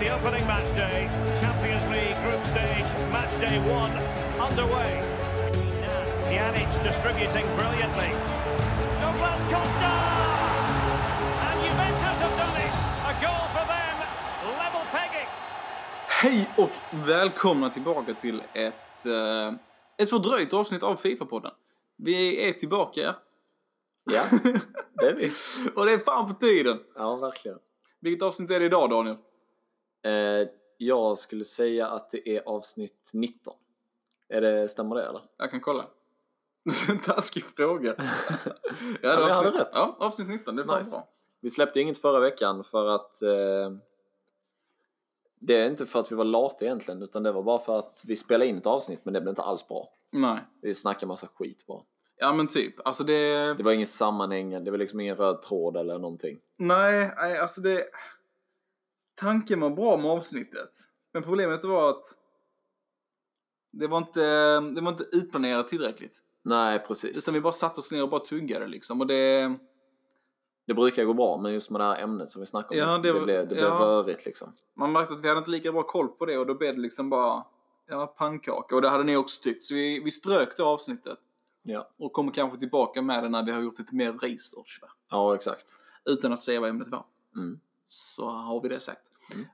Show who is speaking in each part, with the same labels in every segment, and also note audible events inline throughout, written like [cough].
Speaker 1: the opening match day. Champions League group stage, match day one, underway. Pjanic distributing brilliantly. Douglas Costa! And Juventus have done it. A goal for them. Level pegging.
Speaker 2: Hej och välkomna tillbaka till ett, eh, ett fördröjt avsnitt av Fifa-podden. Vi är tillbaka [laughs]
Speaker 3: Ja, det är vi.
Speaker 2: och det är fan på tiden!
Speaker 3: Ja, verkligen.
Speaker 2: Vilket avsnitt är det idag Daniel?
Speaker 3: Eh, jag skulle säga att det är avsnitt 19. Är det, stämmer det eller?
Speaker 2: Jag kan kolla. [laughs] En taskig
Speaker 3: [laughs]
Speaker 2: fråga. det är
Speaker 3: men jag hade
Speaker 2: avsnitt-
Speaker 3: rätt.
Speaker 2: Ja, avsnitt 19, det är fan
Speaker 3: Nice.
Speaker 2: bra.
Speaker 3: Vi släppte inget förra veckan för att... Eh, det är inte för att vi var lata egentligen, utan det var bara för att vi spelade in ett avsnitt men det blev inte alls bra.
Speaker 2: Nej.
Speaker 3: Vi snackade massa skit bara.
Speaker 2: Ja men typ, alltså det...
Speaker 3: Det var ingen sammanhängande, det var liksom ingen röd tråd eller någonting.
Speaker 2: Nej, nej, alltså det... Tanken var bra med avsnittet. Men problemet var att det var inte, det var inte utplanerat tillräckligt.
Speaker 3: Nej, precis.
Speaker 2: Utan vi bara satte oss ner och bara tuggade liksom. Och det...
Speaker 3: Det brukar gå bra, men just med det här ämnet som vi snackade om,
Speaker 2: Ja, det
Speaker 3: det,
Speaker 2: var-
Speaker 3: blev, det blev
Speaker 2: ja.
Speaker 3: rörigt liksom.
Speaker 2: Man märkte att vi hade inte lika bra koll på det och då blev det liksom bara... Ja, pannkaka. Och det hade ni också tyckt. Så vi, vi strök det avsnittet.
Speaker 3: Ja,
Speaker 2: Och kommer kanske tillbaka med det när vi har gjort lite mer research. Va?
Speaker 3: ja exakt.
Speaker 2: Utan att säga vad ämnet var.
Speaker 3: Mm.
Speaker 2: Så har vi det sagt.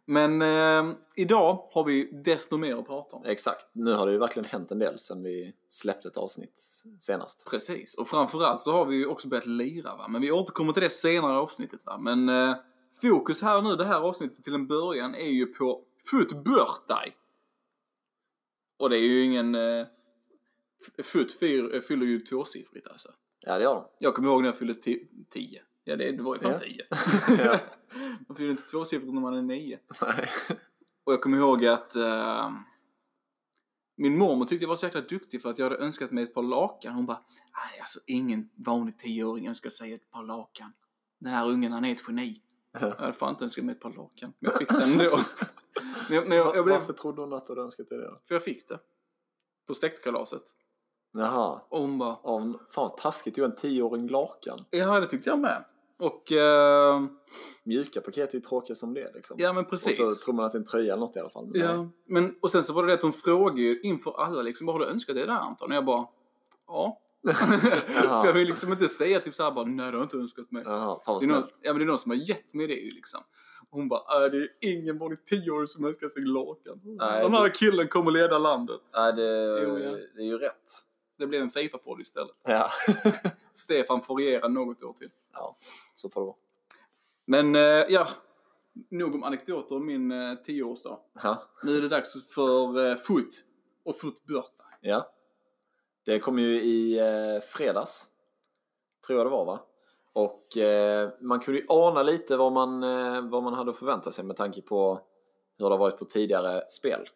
Speaker 2: Men eh, idag har vi desto mer att prata om.
Speaker 3: Exakt. Nu har det ju verkligen hänt en del sen vi släppte ett avsnitt s- senast.
Speaker 2: Precis, och framförallt så har vi ju också börjat lira va, men vi återkommer till det senare i avsnittet va. Men eh, fokus här nu, det här avsnittet till en början är ju på Foot Birthday. Och det är ju ingen... Eh, f- foot fyr, eh, fyller ju tvåsiffrigt alltså.
Speaker 3: Ja, det gör de.
Speaker 2: Jag kommer ihåg när jag fyllde ti- tio. Ja, det, det var ju fan
Speaker 3: Ja.
Speaker 2: tio.
Speaker 3: [laughs] Ja.
Speaker 2: [laughs] Man fyller inte tvåsiffrigt när man är nio.
Speaker 3: Nej.
Speaker 2: Och jag kommer ihåg att eh, min mormor tyckte jag var så jäkla duktig för att jag hade önskat mig ett par lakan. Hon bara, nej alltså ingen vanlig tioåring önskar sig ett par lakan. Den här ungen han är ett geni. Jag hade fan inte önskat mig ett par lakan. Men jag fick det
Speaker 3: [laughs]
Speaker 2: ändå. men jag, men jag, jag blev,
Speaker 3: Varför trodde hon att du hade önskat dig det? då?
Speaker 2: för jag fick det. På släktkalaset.
Speaker 3: Jaha.
Speaker 2: Och hon bara,
Speaker 3: Av, fan vad taskigt, det är ju en tioåring lakan.
Speaker 2: ja det tyckte jag med. Och, eh,
Speaker 3: Mjuka paket är ju tråkiga som det är, liksom.
Speaker 2: ja men
Speaker 3: Och
Speaker 2: precis.
Speaker 3: så tror man att det är en tröja eller något i alla fall. Men nej.
Speaker 2: Ja, men och sen så var det det att hon frågade ju inför alla liksom, vad har du önskat dig där Anton? Och jag bara,
Speaker 3: [laughs]
Speaker 2: ja. För jag vill liksom inte säga typ såhär bara, nej det har jag inte önskat mig.
Speaker 3: Jaha, fan vad
Speaker 2: det, är någon,
Speaker 3: snällt.
Speaker 2: ja, men det är någon som har gett mig det ju liksom. Och Hon bara, äh, det är ingen vanlig tioåring som önskar sig lakan.
Speaker 3: Nej,
Speaker 2: Den här killen kommer leda landet.
Speaker 3: Nej, det,
Speaker 2: Jo, ja.
Speaker 3: det är ju rätt.
Speaker 2: Det blev en Fifa-podd istället.
Speaker 3: Ja. [laughs]
Speaker 2: Stefan får regera något år till.
Speaker 3: ja, så får det vara.
Speaker 2: Men eh, ja, nog om anekdoter om min eh, tioårsdag.
Speaker 3: Ja.
Speaker 2: Nu är det dags för eh, foot och fotbörta.
Speaker 3: Ja. Det kom ju i eh, fredags. Tror jag det var va? Och eh, man kunde ju ana lite vad man, eh, vad man hade att förvänta sig med tanke på hur det har varit på tidigare spel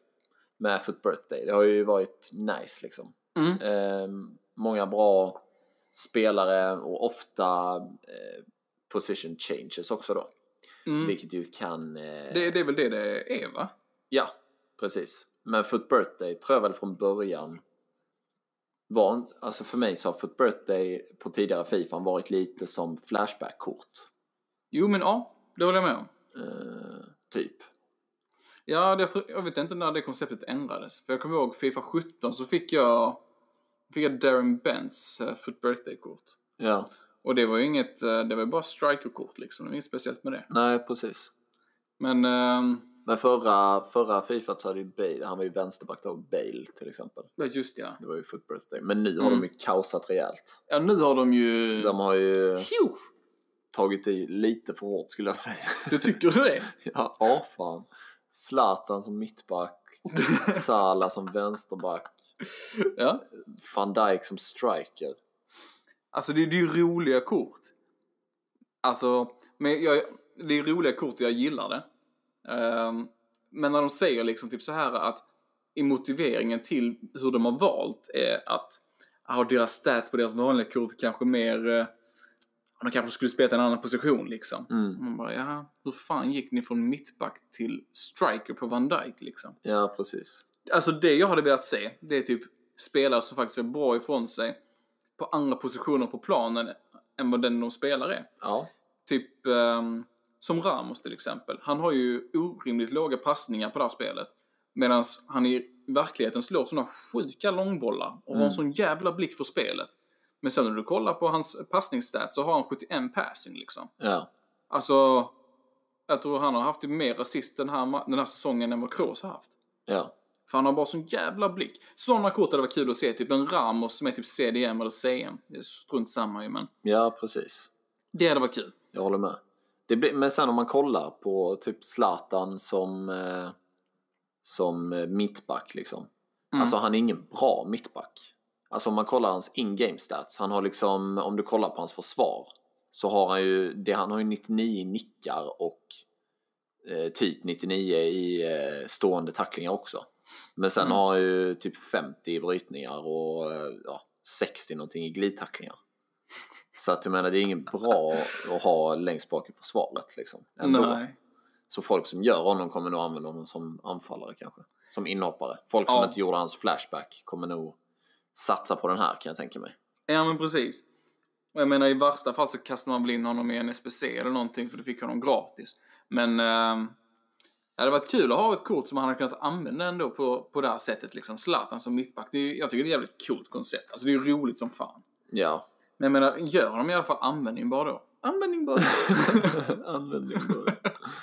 Speaker 3: med Foot Birthday. Det har ju varit nice liksom.
Speaker 2: Mm.
Speaker 3: Eh, många bra spelare och ofta eh, position changes också då.
Speaker 2: Mm.
Speaker 3: Vilket ju kan... Eh,
Speaker 2: Det, det är väl det det är va?
Speaker 3: Ja, precis. Men Foot Birthday tror jag väl från början var, en- alltså för mig så har Foot Birthday på tidigare Fifa varit lite som Flashback-kort,
Speaker 2: Jo men ja, det håller jag med om.
Speaker 3: typ.
Speaker 2: Ja, det, jag tror- jag vet inte när det konceptet ändrades. För jag kommer ihåg Fifa 17 så fick jag, fick jag Darren Bents uh, Foot Birthday-kort.
Speaker 3: Ja.
Speaker 2: Och det var ju inget, eh, det var ju bara striker-kort liksom. Det var inget speciellt med det.
Speaker 3: Nej, precis.
Speaker 2: Men, ehm,
Speaker 3: Men förra, förra Fifa så hade ju Bale, han var ju vänsterback då, Bale till exempel.
Speaker 2: ja just ja.
Speaker 3: Det var ju Foot Birthday. Men nu har de ju kaosat rejält.
Speaker 2: Ja, nu har de ju...
Speaker 3: De har ju
Speaker 2: Tjo!
Speaker 3: tagit i lite för hårt skulle jag säga.
Speaker 2: Du tycker du det?
Speaker 3: Ja, åh fan. Zlatan som mittback, [laughs] Salah som vänsterback.
Speaker 2: Ja.
Speaker 3: van Dijk som striker.
Speaker 2: Alltså det, det är ju roliga kort. Alltså, men jag, det är roliga kort och jag gillar det. Ehm, men när de säger liksom typ så här att i motiveringen till hur de har valt är att har deras stats på deras vanliga kort kanske mer eh, de kanske skulle spela en annan position liksom. Man bara, jaha, hur fan gick ni från mittback till striker på Van Dijk liksom?
Speaker 3: Ja, precis.
Speaker 2: Alltså det jag hade velat se, det är typ spelare som faktiskt är bra ifrån sig på andra positioner på planen än vad den de spelar är.
Speaker 3: Ja,
Speaker 2: Typ, ehm, Som Ramos till exempel. Han har ju orimligt låga passningar på det här spelet. Medan han i verkligheten slår sådana sjuka långbollar och har en sån jävla blick för spelet. Men sen när du kollar på hans passningsstat så har han 71 passing liksom.
Speaker 3: Ja.
Speaker 2: Alltså, jag tror han har haft typ mer assist den här, ma- den här säsongen än vad Kroos har haft.
Speaker 3: Ja.
Speaker 2: För han har bara sån jävla blick. Sådana kort hade varit kul att se, typ en Ramos som är typ CDM eller CM. Det är strunt samma ju, men
Speaker 3: ja, precis.
Speaker 2: det hade varit kul.
Speaker 3: Jag håller med. Det blir, men sen om man kollar på typ Zlatan som, eh, som eh, mittback liksom. Alltså han är ingen bra mittback. Alltså om man kollar hans in-game stats, han har liksom, om du kollar på hans försvar så har han ju, det, han har ju 99 nickar och eh, typ 99 i eh, stående tacklingar också. Men sen har han ju typ 50 i brytningar och eh, ja, 60 någonting i glidtacklingar. Så att jag menar, det är ingen bra att ha längst bak i försvaret liksom. Ändå.
Speaker 2: Nej.
Speaker 3: Så folk som gör honom kommer nog använda honom som anfallare kanske. Som inhoppare. Folk som
Speaker 2: Ja.
Speaker 3: inte gjorde hans flashback kommer nog satsa på den här kan jag tänka mig.
Speaker 2: Ja, men precis. Och jag menar, i värsta fall så kastar man väl in honom i en SPC eller någonting för du fick honom gratis. Men eh, det hade varit kul att ha ett kort som han hade kunnat använda ändå på, på det här sättet. Liksom. Zlatan som mittback, det är, jag tycker det är ett jävligt coolt koncept. Alltså det är roligt som fan. [laughs]
Speaker 3: Ja.
Speaker 2: Men jag menar, gör honom i alla fall användningsbar då. Användningsbar!
Speaker 3: Användning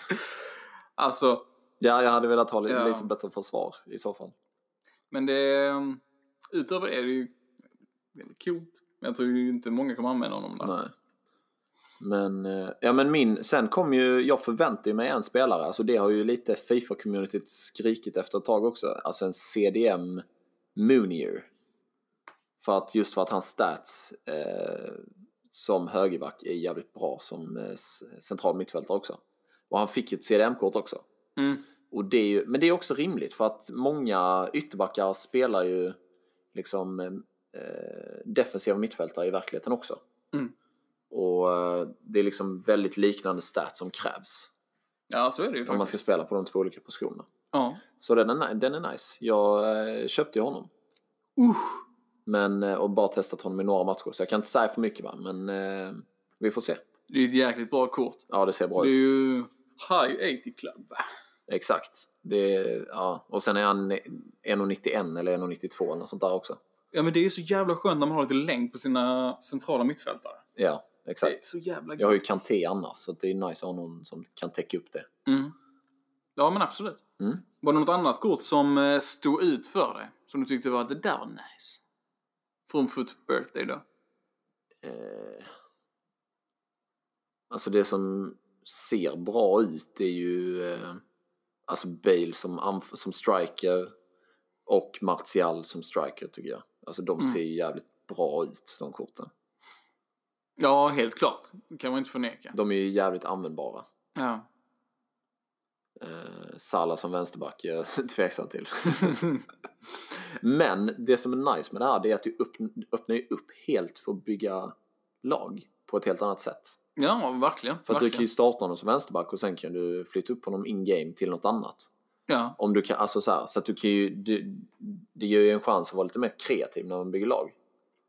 Speaker 2: [laughs] alltså,
Speaker 3: Ja, jag hade velat ha li-
Speaker 2: Ja.
Speaker 3: lite bättre försvar i så fall.
Speaker 2: Men det... ehm, Utöver det är det ju väldigt coolt. Men jag tror ju inte många kommer använda honom där.
Speaker 3: Nej. Men, eh, ja men min, sen kom ju, jag förväntade ju mig en spelare, alltså det har ju lite Fifa-communityt skrikit efter ett tag också, alltså en CDM Mounier. För att just för att hans stats eh, som högerback är jävligt bra som eh, s- central mittfältare också. Och han fick ju ett CDM-kort också.
Speaker 2: Mm.
Speaker 3: Och det är ju, men det är också rimligt för att många ytterbackar spelar ju liksom eh, defensiva mittfältare i verkligheten också.
Speaker 2: Mm.
Speaker 3: Och eh, det är liksom väldigt liknande stats som krävs
Speaker 2: Ja, så är det ju
Speaker 3: om man
Speaker 2: faktiskt.
Speaker 3: ska spela på de två olika positionerna.
Speaker 2: Ja.
Speaker 3: Så den är, ni- den är nice. Jag eh, köpte ju honom.
Speaker 2: Usch!
Speaker 3: Men, eh, och bara testat honom i några matcher så jag kan inte säga för mycket va, men eh, vi får se.
Speaker 2: Det är ett jäkligt bra kort.
Speaker 3: Ja, det ser bra
Speaker 2: Det är
Speaker 3: ut.
Speaker 2: ju High 80 Club.
Speaker 3: Exakt. Det är, ja. Och sen är han 1,91 eller 1,92 eller något sånt där också.
Speaker 2: Ja, men det är ju så jävla skönt när man har lite längd på sina centrala mittfältare.
Speaker 3: Ja,
Speaker 2: Det
Speaker 3: exakt.
Speaker 2: är så jävla
Speaker 3: Jag har ju Kanté annars, så det är nice att ha någon som kan täcka upp det.
Speaker 2: Mm. Ja, men absolut.
Speaker 3: Mm.
Speaker 2: Var det något annat kort som eh, stod ut för dig? Som du tyckte var att det där var nice? Från Foot Birthday då?
Speaker 3: Eh, alltså det som ser bra ut är ju eh, alltså Bale som, anf- som striker och Martial som striker tycker jag. Alltså de ser ju jävligt bra ut, de korten.
Speaker 2: Ja, helt klart. Det kan man inte förneka.
Speaker 3: De är ju jävligt användbara.
Speaker 2: Ja.
Speaker 3: Eh, Salah som vänsterback är [laughs] jag tveksam till. Men det som är nice med det här det är att du öppn- öppnar ju upp helt för att bygga lag på ett helt annat sätt.
Speaker 2: Ja, verkligen.
Speaker 3: För att du
Speaker 2: verkligen.
Speaker 3: kan ju starta honom som vänsterback och sen kan du flytta upp honom in game till något annat.
Speaker 2: Ja,
Speaker 3: Om du kan, alltså så, här, så att du kan ju, du, det ger ju en chans att vara lite mer kreativ när man bygger lag.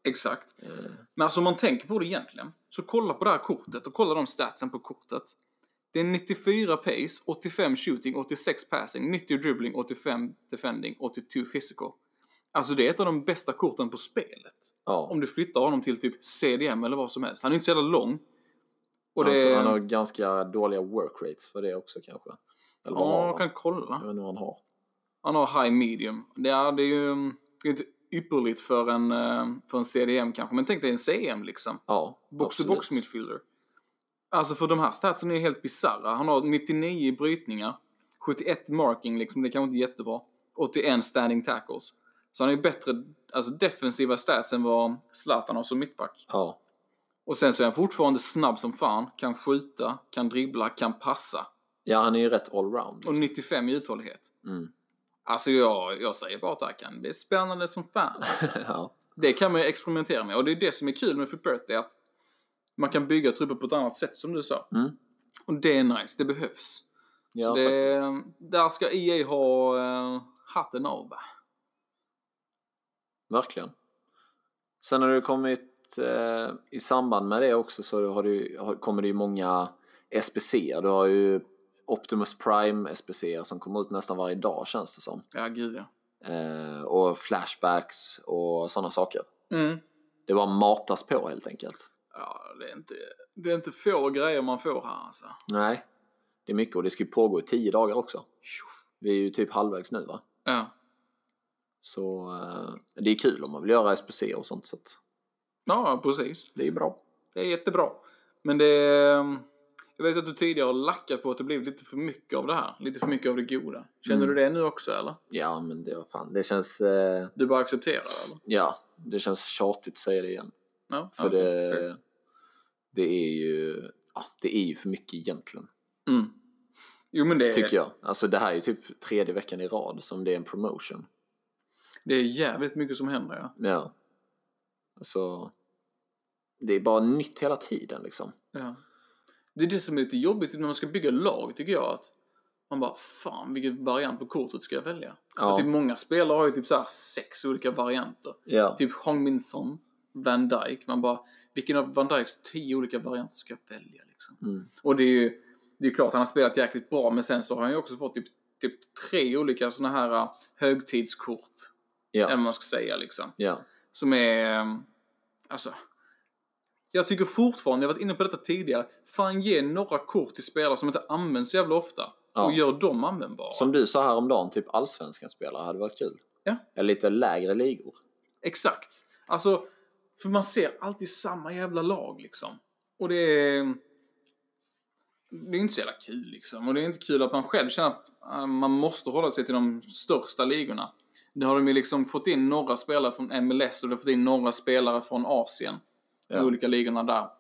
Speaker 2: exakt.
Speaker 3: Eh.
Speaker 2: Men alltså om man tänker på det egentligen, så kolla på det här kortet och kolla de statsen på kortet. Det är 94 pace, 85 shooting, 86 passing, 90 dribbling, 85 defending, 82 physical. Alltså det är ett av de bästa korten på spelet.
Speaker 3: Ja.
Speaker 2: Om du flyttar honom till typ CDM eller vad som helst. Han är inte så jävla lång. Och det...
Speaker 3: Alltså, han har ganska dåliga work rates för det också kanske. Eller vad
Speaker 2: Ja,
Speaker 3: har
Speaker 2: jag
Speaker 3: han?
Speaker 2: kan kolla.
Speaker 3: Jag vet inte vad han har.
Speaker 2: Han har high medium. Det är, det är ju mm, det är inte ypperligt för en, eh, för en CDM kanske, men tänk dig en CM liksom.
Speaker 3: Ja,
Speaker 2: Box to
Speaker 3: absolut.
Speaker 2: box midfielder. Alltså för de här statsen är helt bizarra. Han har 99 i brytningar, 71 marking liksom, det kanske inte är jättebra. 81 standing tackles. Så han är ju bättre alltså defensiva stats än vad Zlatan har som mittback.
Speaker 3: Ja,
Speaker 2: Och sen så är han fortfarande snabb som fan, kan skjuta, kan dribbla, kan passa.
Speaker 3: Ja, han är ju rätt allround.
Speaker 2: Och 95 i uthållighet.
Speaker 3: Mm.
Speaker 2: Alltså jag, jag säger bara tackan. Det är spännande som fan.
Speaker 3: [laughs]
Speaker 2: alltså.
Speaker 3: ja.
Speaker 2: Det kan man ju experimentera med. Och det är det som är kul med Foot Birthday. Att man kan bygga trupper på ett annat sätt som du sa.
Speaker 3: Mm.
Speaker 2: Och det är nice. Det behövs.
Speaker 3: ja
Speaker 2: Så det,
Speaker 3: faktiskt.
Speaker 2: där ska EA ha eh, hatten av. va?
Speaker 3: Verkligen. Sen har det kommit eh, i samband med det också så har det, ju- har, kommer det ju många SBC. Du har ju Optimus Prime SBC som kommer ut nästan varje dag känns det som.
Speaker 2: Ja, gud ja.
Speaker 3: Eh, och flashbacks och sådana saker.
Speaker 2: Mm.
Speaker 3: Det bara matas på helt enkelt.
Speaker 2: Ja, det är inte, det är inte få grejer man får här alltså.
Speaker 3: Nej, det är mycket och det ska ju pågå i tio dagar också. Vi är ju typ halvvägs nu va?
Speaker 2: Ja.
Speaker 3: Så eh, det är kul om man vill göra SPC och sånt så att
Speaker 2: Ja, precis.
Speaker 3: det är bra.
Speaker 2: Det är jättebra. Men det är... eh, Jag vet att du tidigare har lackat på att det blev lite för mycket av det här. Lite för mycket av det goda. Känner
Speaker 3: Mm.
Speaker 2: du det nu också eller?
Speaker 3: Ja men det var fan, det känns, eh,
Speaker 2: Du bara accepterar det eller?
Speaker 3: ja, det känns tjatigt att säga det igen.
Speaker 2: Ja,
Speaker 3: För
Speaker 2: okej, fair.
Speaker 3: det, det är ju, ja, det är ju för mycket egentligen.
Speaker 2: Jo men det
Speaker 3: Tycker
Speaker 2: är,
Speaker 3: jag. Alltså det här är typ tredje veckan i rad som det är en promotion.
Speaker 2: det är jävligt mycket som händer ja.
Speaker 3: Ja. Alltså, det är bara nytt hela tiden liksom.
Speaker 2: Ja. Det är det som är lite jobbigt när man ska bygga lag, tycker jag. att Man bara, fan vilken variant på kortet ska jag välja?
Speaker 3: Ja.
Speaker 2: För typ många spelare har ju typ så här sex olika varianter.
Speaker 3: Ja.
Speaker 2: Typ Hong Min Son, Van Dijk. Man bara, vilken av Van Dijks tio olika varianter ska jag välja? Liksom? Och det är ju det är ju klart, han har spelat jäkligt bra, men sen så har han ju också fått typ, typ tre olika såna här äh, högtidskort, eller
Speaker 3: Ja.
Speaker 2: vad man ska säga liksom
Speaker 3: Ja.
Speaker 2: som är... ehm, Alltså... Jag tycker fortfarande, jag har varit inne på detta tidigare, fan ge några kort till spelare som inte används så jävla ofta.
Speaker 3: Ja.
Speaker 2: Och gör dem användbara.
Speaker 3: Som du sa häromdagen, typ allsvenska spelare hade varit kul.
Speaker 2: Ja,
Speaker 3: Eller lite lägre ligor.
Speaker 2: exakt. Alltså, för man ser alltid samma jävla lag liksom. Och det är... Det är inte så jävla kul liksom. Och det är inte kul att man själv känner att äh, man måste hålla sig till de största ligorna. Nu har de ju liksom fått in några spelare från MLS och de har fått in några spelare från Asien. De olika ligorna där.
Speaker 3: Men,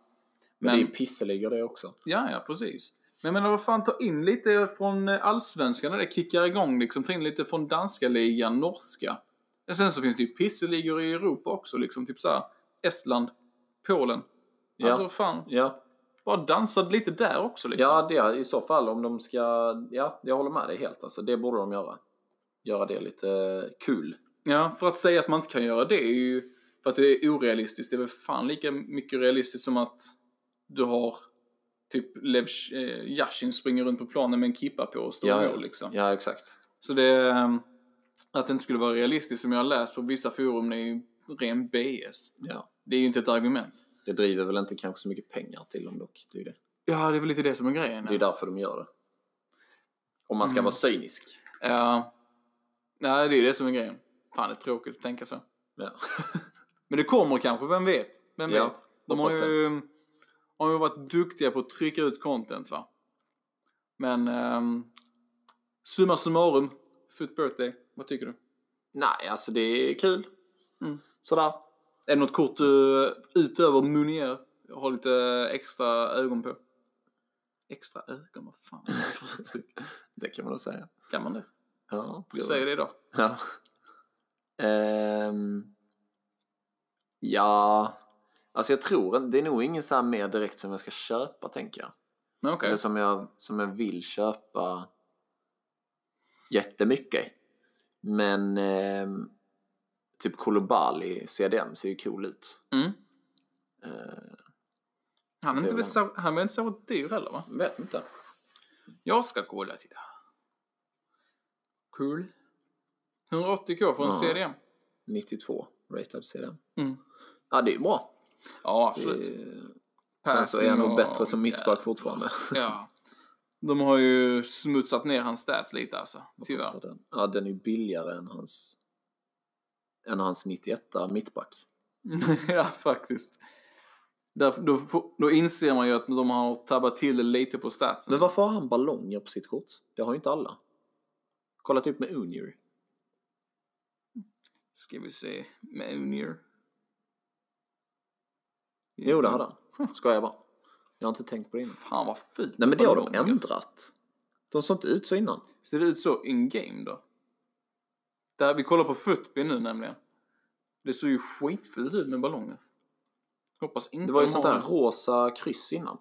Speaker 2: Men-
Speaker 3: det är pisseligor det också.
Speaker 2: Ja, ja, precis. Men jag menar, vad fan, ta in lite från eh, allsvenskan när det kickar igång liksom. Ta in lite från danska ligan, norska. Ja, sen så finns det ju pisseligor i Europa också liksom. Typ såhär Estland, Polen.
Speaker 3: Ja.
Speaker 2: Alltså fan,
Speaker 3: Ja.
Speaker 2: bara dansa lite där också liksom.
Speaker 3: Ja, det, i så fall om de ska... Ja, jag håller med dig helt alltså. Det borde de göra. Göra det lite kul.
Speaker 2: Ja, för att säga att man inte kan göra det är ju för att det är orealistiskt. Det är väl fan lika mycket realistiskt som att du har typ Lev eh, Yashin springer runt på planen med en kippa på och står i mål liksom.
Speaker 3: ja, exakt.
Speaker 2: Så det... ehm, Att det inte skulle vara realistiskt som jag har läst på vissa forum, det är ju ren BS.
Speaker 3: Ja.
Speaker 2: Det är ju inte ett argument.
Speaker 3: Det driver väl inte kanske så mycket pengar till dem dock. Det är, ju det.
Speaker 2: Ja, det är väl lite det som är grejen.
Speaker 3: Det är därför de gör det. Om man ska vara cynisk.
Speaker 2: Ja. Nej, det är det som är grejen. Fan, det är tråkigt att tänka så.
Speaker 3: Ja. [laughs]
Speaker 2: Men det kommer kanske, vem vet? Vem
Speaker 3: Ja,
Speaker 2: vet? De har
Speaker 3: hoppas
Speaker 2: ju, har ju varit duktiga på att trycka ut content, va? Men... ehm, summa summarum, Foot Birthday, vad tycker du?
Speaker 3: Nej, alltså det är kul. Mm. Sådär. [laughs]
Speaker 2: Är det något kort du, utöver Munier, har lite extra ögon på? Extra ögon? Vad fan är det för uttryck?
Speaker 3: Det kan man nog säga.
Speaker 2: Kan man det?
Speaker 3: Ja,
Speaker 2: Vi säger det idag.
Speaker 3: Ja. Ehm, ja, alltså jag tror en- det är nog ingen så här mer direkt som jag ska köpa tänker jag.
Speaker 2: Men okej.
Speaker 3: Eller som jag, som jag vill köpa jättemycket. Men ehm, typ Kolobali CDM ser ju cool ut.
Speaker 2: Mm. Han är inte väl så- han är inte särskilt dyr heller, va?
Speaker 3: Vet inte.
Speaker 2: Jag ska kolla, titta. Cool. 180k för en CDM.
Speaker 3: 92 rated CDM.
Speaker 2: Mm.
Speaker 3: Ja, det är ju bra.
Speaker 2: Ja, absolut.
Speaker 3: Sen så är jag
Speaker 2: Persson
Speaker 3: nog
Speaker 2: och-
Speaker 3: bättre som mittback
Speaker 2: Ja.
Speaker 3: fortfarande.
Speaker 2: Ja. De har ju smutsat ner hans stats lite alltså. Tyvärr.
Speaker 3: kostar den? Ja, den är ju billigare än hans, än hans 91 mittback.
Speaker 2: [laughs] ja, faktiskt. Därför, då, får- då inser man ju att de har tabbat till det lite på statsen.
Speaker 3: Men varför har han ballonger på sitt kort? Det har ju inte alla. Kolla typ med Unior.
Speaker 2: Ska vi se. Med Unier.
Speaker 3: Jo, det hade han. Skojar jag bara. Jag har inte tänkt på det innan.
Speaker 2: Fan vad fult.
Speaker 3: Nej, men det har de ändrat. De såg inte ut så innan.
Speaker 2: Ser det ut så in-game då? Där, vi kollar på Footbin nu nämligen. Det såg ju skitfult ut med ballonger. Hoppas inte
Speaker 3: Det var ju
Speaker 2: de
Speaker 3: sånt
Speaker 2: har-
Speaker 3: där rosa kryss innan.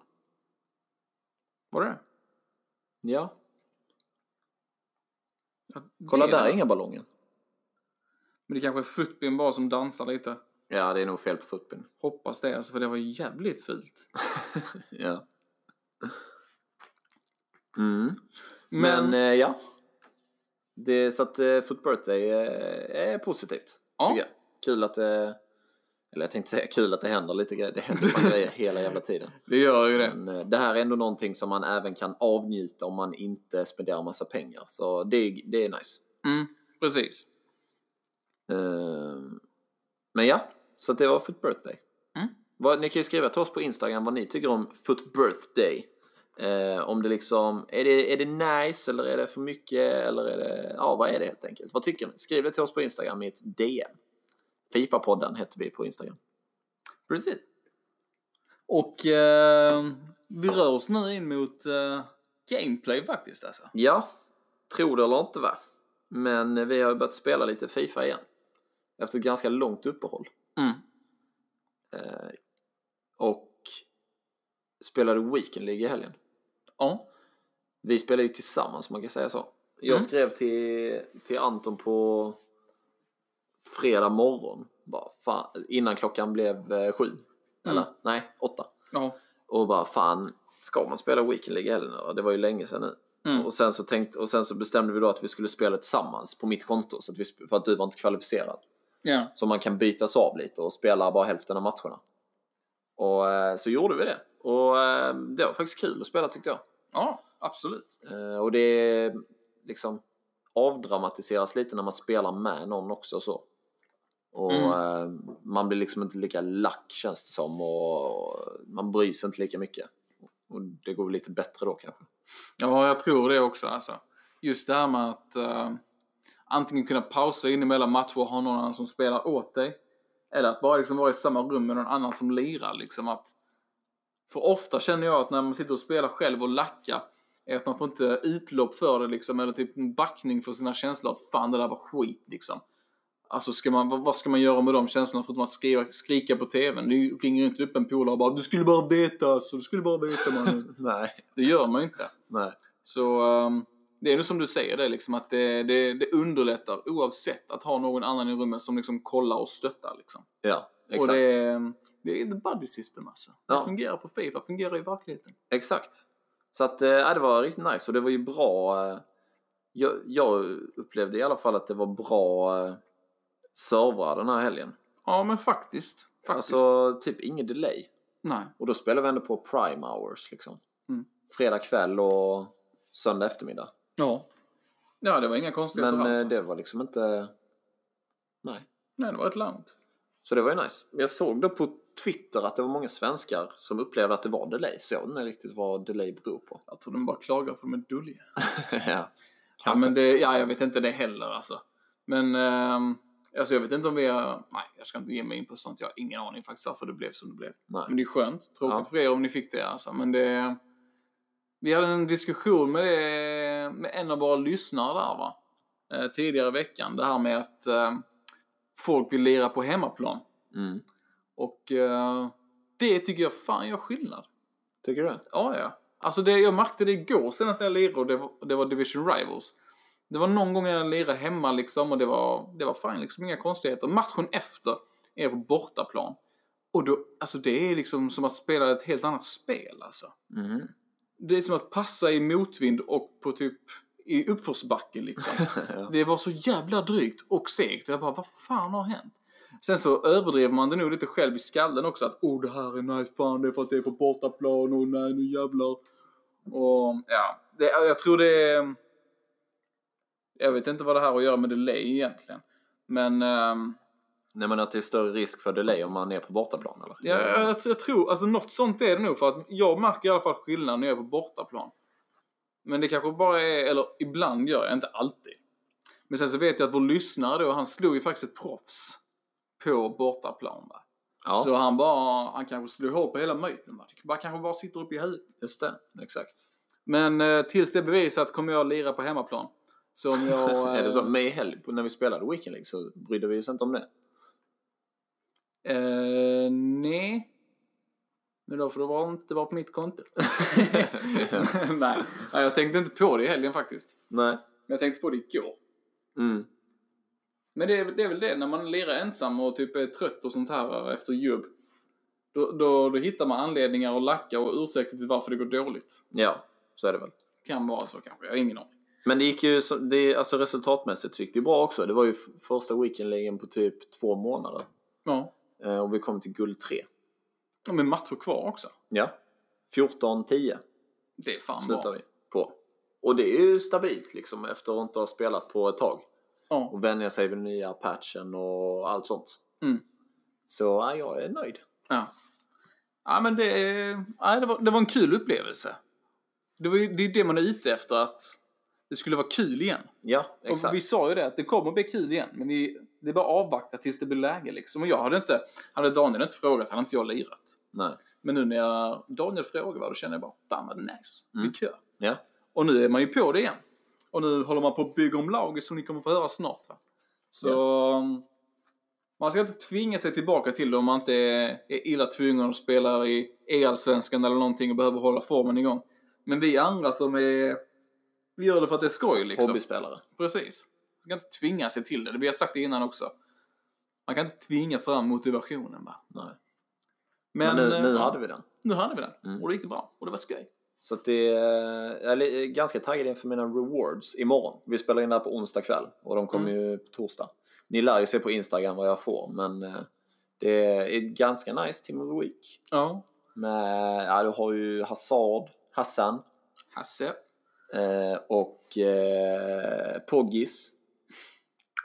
Speaker 2: Var det
Speaker 3: Ja,
Speaker 2: Ja, det?
Speaker 3: kolla
Speaker 2: är
Speaker 3: där,
Speaker 2: det.
Speaker 3: inga ballonger.
Speaker 2: Men det kanske är Footbin bara som dansar lite.
Speaker 3: Ja, det är nog fel på footbin.
Speaker 2: Hoppas det alltså, för det var jävligt fult.
Speaker 3: Ja. Mm. Men,
Speaker 2: Men-
Speaker 3: eh, ja. Det är så att eh, Foot Birthday eh, är positivt.
Speaker 2: Ja.
Speaker 3: Tycker jag. Kul att det... Eller jag tänkte säga kul att det händer lite grejer. Det händer man säger hela
Speaker 2: [laughs]
Speaker 3: jävla tiden.
Speaker 2: Det gör ju det.
Speaker 3: Men eh, det här är ändå någonting som man även kan avnjuta om man inte spenderar massa pengar. Så det, det är nice.
Speaker 2: Mm, precis.
Speaker 3: Eh, Men ja, så att det var Foot Birthday. Vad, ni kan ju skriva till oss på Instagram vad ni tycker om Foot Birthday. Eh, om det liksom, är det, är det nice eller är det för mycket eller är det, ja vad är det helt enkelt? Vad tycker ni? Skriv det till oss på Instagram i ett DM. Fifa-podden heter vi på Instagram.
Speaker 2: Precis. Och eh, vi rör oss nu in mot eh, gameplay faktiskt alltså.
Speaker 3: Ja, tro det eller inte va? Men vi har ju börjat spela lite Fifa igen. Efter ett ganska långt uppehåll.
Speaker 2: Mm.
Speaker 3: Eh, och spelade Weekend League i helgen.
Speaker 2: Ja.
Speaker 3: Vi spelar ju tillsammans, man kan säga så. Jag
Speaker 2: Mm.
Speaker 3: skrev till, till Anton på fredag morgon, bara, fan, innan klockan blev eh, sju. Eller
Speaker 2: Mm.
Speaker 3: nej, åtta.
Speaker 2: Ja.
Speaker 3: Och bara fan, ska man spela Weekend League i helgen? Och Det var ju länge sedan nu. Och, sen så tänkte, och sen så bestämde vi då att vi skulle spela tillsammans på mitt konto, så att vi, sp- för att du var inte kvalificerad.
Speaker 2: Ja.
Speaker 3: Så man kan bytas av lite och spela bara hälften av matcherna. Och eh, så gjorde vi det. Och eh, det var faktiskt kul att spela tyckte jag.
Speaker 2: ja, absolut.
Speaker 3: Eh, Och det liksom avdramatiseras lite när man spelar med någon också och så. Och eh, man blir liksom inte lika lack känns det som och man bryr sig inte lika mycket. Och det går väl lite bättre då kanske.
Speaker 2: Ja, jag tror det också alltså. Just det här med att eh, antingen kunna pausa in emellan matcher och ha någon annan som spelar åt dig. Eller att bara liksom vara i samma rum med någon annan som lirar liksom att. För ofta känner jag att när man sitter och spelar själv och lackar är att man får inte utlopp för det liksom eller typ en backning för sina känslor att fan det där var skit liksom. Alltså ska man, vad vad ska man göra med de känslorna förutom att skriva, skrika på tvn? Du ringer ju inte upp en polare och bara du skulle bara veta alltså, du skulle bara veta mannen.
Speaker 3: Nej.
Speaker 2: det gör man ju inte.
Speaker 3: Nej.
Speaker 2: Så ehm, det är nog som du säger det, liksom, att det, det, det underlättar oavsett att ha någon annan i rummet som liksom kollar och stöttar. Liksom.
Speaker 3: Ja,
Speaker 2: Och
Speaker 3: exakt.
Speaker 2: det, är- det är the buddy system alltså.
Speaker 3: Ja.
Speaker 2: Det fungerar på Fifa, fungerar i verkligheten.
Speaker 3: Exakt. Så att, eh, ja, det var riktigt nice och det var ju bra. eh, Jag, jag upplevde i alla fall att det var bra eh, servrar den här helgen.
Speaker 2: Ja, men faktiskt. faktiskt.
Speaker 3: Alltså typ ingen delay.
Speaker 2: Nej.
Speaker 3: Och då spelar vi ändå på prime hours liksom.
Speaker 2: Mm. Typ
Speaker 3: Fredag kväll och söndag eftermiddag.
Speaker 2: Ja. Ja, det var inga konstigheter
Speaker 3: Men
Speaker 2: alls.
Speaker 3: eh,
Speaker 2: Alltså.
Speaker 3: det var liksom inte... Nej.
Speaker 2: Nej, det var ett land.
Speaker 3: Så det var ju nice. Men jag såg då på Twitter att det var många svenskar som upplevde att det var delay. Så jag vet inte riktigt vad delay beror på.
Speaker 2: Jag tror de bara klagar för de är dulliga.
Speaker 3: [laughs] ja.
Speaker 2: Ja, men det, ja, jag vet inte det heller alltså. Men, ehm, alltså jag vet inte om vi har, nej jag ska inte ge mig in på sånt. Jag har ingen aning faktiskt varför det blev som det blev.
Speaker 3: Nej.
Speaker 2: Men det är skönt. Tråkigt
Speaker 3: Ja.
Speaker 2: för er om ni fick det alltså. Men det, vi hade en diskussion med, det, med en av våra lyssnare där va. Eh, tidigare i veckan. Det här med att eh, folk vill lira på hemmaplan.
Speaker 3: Mm.
Speaker 2: Och eh, det tycker jag fan gör skillnad.
Speaker 3: Tycker du det?
Speaker 2: Ja, ja. Alltså det, jag märkte det igår senast när jag lirade och det var, det var Division Rivals. Det var någon gång jag lirade hemma liksom och det var, det var fine liksom, inga konstigheter. Matchen efter är jag på bortaplan. Och då, alltså det är liksom som att spela ett helt annat spel alltså.
Speaker 3: Mhm.
Speaker 2: Det är som att passa i motvind och på typ i uppförsbacke liksom.
Speaker 3: ja.
Speaker 2: Det var så jävla drygt och segt. Och jag bara, vad fan har hänt? Sen så överdrev man det nog lite själv i skallen också. Att, oh det här är nice, fan det är för att det är på bortaplan och nej nu jävlar. Och ja, det, jag tror det är... Jag vet inte vad det här har att göra med delay egentligen. Men ehm,
Speaker 3: Nej men att det är större risk för delay om man är på bortaplan eller?
Speaker 2: ja, jag, jag, jag tror, alltså något sånt är det nog. För att jag märker i alla fall skillnad när jag är på bortaplan. Men det kanske bara är, eller ibland gör jag, inte alltid. Men sen så vet jag att vår lyssnare då, han slog ju faktiskt ett proffs på bortaplan. Va?
Speaker 3: Ja.
Speaker 2: Så han bara, han kanske slog hål på hela myten. Va? Det bara, kanske bara sitter upp i huvudet.
Speaker 3: Just det, exakt.
Speaker 2: Men eh, tills det är bevisat kommer jag lira på hemmaplan. Så om jag...
Speaker 3: [laughs] är det så?
Speaker 2: eh,
Speaker 3: Med i helg, när vi spelade Weekend League så brydde vi oss inte om det.
Speaker 2: Eh, nej. Men då får det vara inte vara på mitt
Speaker 3: [laughs]
Speaker 2: konto. [laughs] nej. nej, jag tänkte inte på det i helgen faktiskt.
Speaker 3: Nej.
Speaker 2: Men jag tänkte på det igår.
Speaker 3: Mm.
Speaker 2: Men det är, det är väl det, när man lirar ensam och typ är trött och sånt här efter jobb. Då, då, då hittar man anledningar att lacka och ursäkter till varför det går dåligt.
Speaker 3: Ja, så är det väl.
Speaker 2: Kan vara så kanske, jag har ingen aning.
Speaker 3: Men det gick ju, så- det, alltså resultatmässigt så gick det ju bra också. Det var ju f- första weekendligen på typ två månader.
Speaker 2: Ja.
Speaker 3: Eh, och vi kom till guld tre.
Speaker 2: Ja, men matcher kvar också.
Speaker 3: Ja. 14-10
Speaker 2: Det är fan
Speaker 3: slutar
Speaker 2: bra.
Speaker 3: vi på. Och det är ju stabilt liksom efter att inte ha spelat på ett tag.
Speaker 2: Ja.
Speaker 3: Och vänja sig vid den nya patchen och allt sånt.
Speaker 2: Mm.
Speaker 3: Så ja, jag är nöjd.
Speaker 2: ja. Ja, men det, är- ja, det, var, det var en kul upplevelse. Det, var, ju- det är det man är ute efter, att det skulle vara kul igen.
Speaker 3: Ja, exakt.
Speaker 2: Och vi sa ju det, att det kommer bli kul igen, men vi, det är bara att avvakta tills det blir läge liksom. Och jag hade inte, hade Daniel inte frågat hade inte jag lirat.
Speaker 3: Nej.
Speaker 2: Men nu när jag, Daniel frågade, då kände jag bara, fan vad nice,
Speaker 3: Mm.
Speaker 2: det är kul.
Speaker 3: Ja.
Speaker 2: Och nu är man ju på det igen. Och nu håller man på att bygga om laget som ni kommer få höra snart. Va? Så um, man ska inte tvinga sig tillbaka till det om man inte är är illa tvungen och spelar i EL-svenskan eller någonting och behöver hålla formen igång. Men vi andra som är... Vi gör det för att det är skoj liksom.
Speaker 3: Hobbyspelare.
Speaker 2: Precis. Man kan inte tvinga sig till det. Vi har sagt det innan också. Man kan inte tvinga fram motivationen va.
Speaker 3: Nej.
Speaker 2: Men,
Speaker 3: Men, nu, nu
Speaker 2: eh,
Speaker 3: hade vi Mm. den.
Speaker 2: nu hade vi den. Och det gick bra. Och det var skoj.
Speaker 3: Så att det är, jag är ganska taggad inför mina rewards imorgon. Vi spelar in det här på onsdag kväll och de kommer ju på torsdag. Ni lär ju se på Instagram vad jag får men eh, det är ganska nice team of the week.
Speaker 2: Ja.
Speaker 3: Med, ja, du har ju Hazard, Hassan
Speaker 2: Hasse.
Speaker 3: eh, och eh, Poggis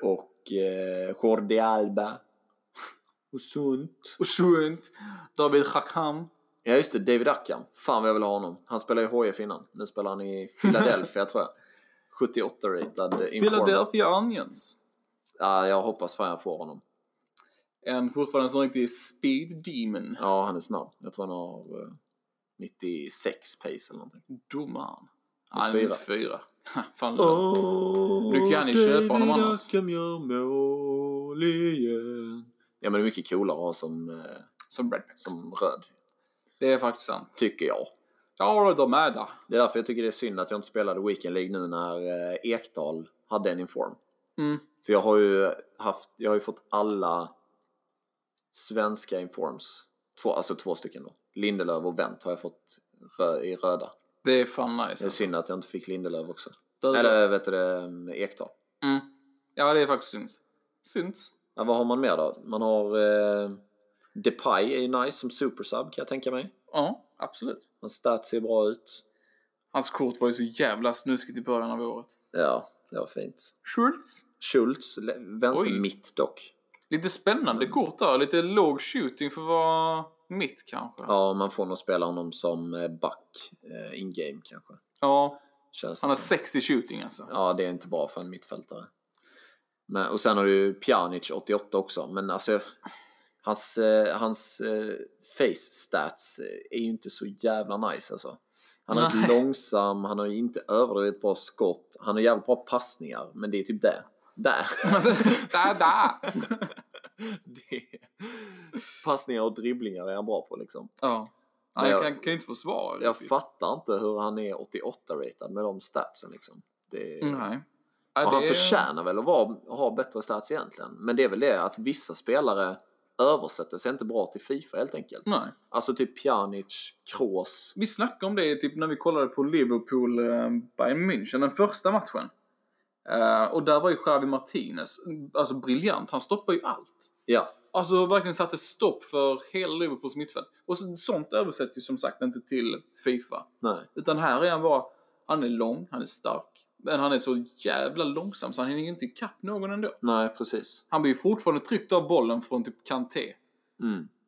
Speaker 3: och eh, Jordi Alba och sånt.
Speaker 2: Och sunt. David Chakam.
Speaker 3: Ja just det, David Ackham. Fan vad jag vill ha honom. Han spelar i HIF innan. Nu spelar han i [laughs] Philadelphia tror jag. 78-ratad inform.
Speaker 2: Philadelphia Onions.
Speaker 3: Ja, jag hoppas fan jag får honom.
Speaker 2: En fortfarande sån riktig speed demon.
Speaker 3: Ja, han är snabb. Jag tror han har eh, 96 pace eller någonting.
Speaker 2: Domaren.
Speaker 3: Minus
Speaker 2: Han är minus fyra. [laughs] Ha, Fan oh.
Speaker 3: du
Speaker 2: kan ju köpa honom annars.
Speaker 3: Ackham gör mål igen. Ja, men det är mycket coolare att ha som, eh,
Speaker 2: Som Brad Pitt.
Speaker 3: som röd.
Speaker 2: Det är faktiskt sant.
Speaker 3: Tycker jag.
Speaker 2: Ja, de är där.
Speaker 3: Det är därför jag tycker det är synd att jag inte spelade Weekend League nu när eh, Ekdal hade en inform.
Speaker 2: Mm.
Speaker 3: För jag har ju haft, jag har ju fått alla svenska informs. Två, alltså två stycken då. Lindelöf och Wendt har jag fått rö, i röda.
Speaker 2: Det är fan
Speaker 3: Det är
Speaker 2: nice.
Speaker 3: synd att jag inte fick Lindelöf också.
Speaker 2: Där-
Speaker 3: Eller vet du det, eh, Ekdal.
Speaker 2: Mm. Ja, det är faktiskt synd. Synd.
Speaker 3: Ja, vad har man mer då? Man har eh, Depay är ju nice som supersub kan jag tänka mig.
Speaker 2: Ja, absolut.
Speaker 3: Hans stats ser bra ut.
Speaker 2: Hans kort var ju så jävla snuskigt i början av året.
Speaker 3: Ja, det var fint.
Speaker 2: Schultz.
Speaker 3: Schultz, le- vänster
Speaker 2: Oj.
Speaker 3: mitt dock.
Speaker 2: Lite
Speaker 3: Mm.
Speaker 2: spännande kort där. Lite låg shooting för att vara mitt kanske.
Speaker 3: Ja, man får nog spela honom som eh, back eh, in game kanske.
Speaker 2: Ja,
Speaker 3: Känns det
Speaker 2: Han har
Speaker 3: som.
Speaker 2: 60 shooting alltså.
Speaker 3: Ja, det är inte bra för en mittfältare. Men, och sen har du ju Pjanic 88 också, men alltså hans, eh, hans eh, face stats eh, är ju inte så jävla nice alltså. Han är inte
Speaker 2: Nej.
Speaker 3: långsam, han har ju inte överdrivet bra skott, han har jävligt bra passningar, men det är typ det.
Speaker 2: [laughs]
Speaker 3: Där!
Speaker 2: [laughs]
Speaker 3: [laughs]
Speaker 2: där, där!
Speaker 3: det är... Passningar och dribblingar är han bra på liksom.
Speaker 2: Ja.
Speaker 3: Men
Speaker 2: Nej, jag
Speaker 3: jag-
Speaker 2: kan, kan ju inte försvara
Speaker 3: Jag
Speaker 2: riktigt.
Speaker 3: fattar inte hur han är 88-ratad med de statsen liksom. Det...
Speaker 2: Nej. Mm. Ja,
Speaker 3: Och han
Speaker 2: det är-
Speaker 3: förtjänar väl att vara, ha bättre stats egentligen. Men det är väl det att vissa spelare översätter sig inte bra till Fifa helt enkelt.
Speaker 2: Nej.
Speaker 3: Alltså typ Pjanic, Kroos.
Speaker 2: Vi snackade om det typ när vi kollade på Liverpool eh, Bayern München, den första matchen. Eh, och där var ju Xavi Martinez, alltså briljant, han stoppar ju allt.
Speaker 3: Ja,
Speaker 2: Alltså verkligen satte stopp för hela Liverpools mittfält. Och så, sånt översätts ju som sagt inte till Fifa.
Speaker 3: nej.
Speaker 2: Utan här är han bara, han är lång, han är stark. Men han är så jävla långsam så han hinner ju inte ikapp någon ändå.
Speaker 3: Nej, precis.
Speaker 2: Han blir ju fortfarande tryckt av bollen från typ Kanté.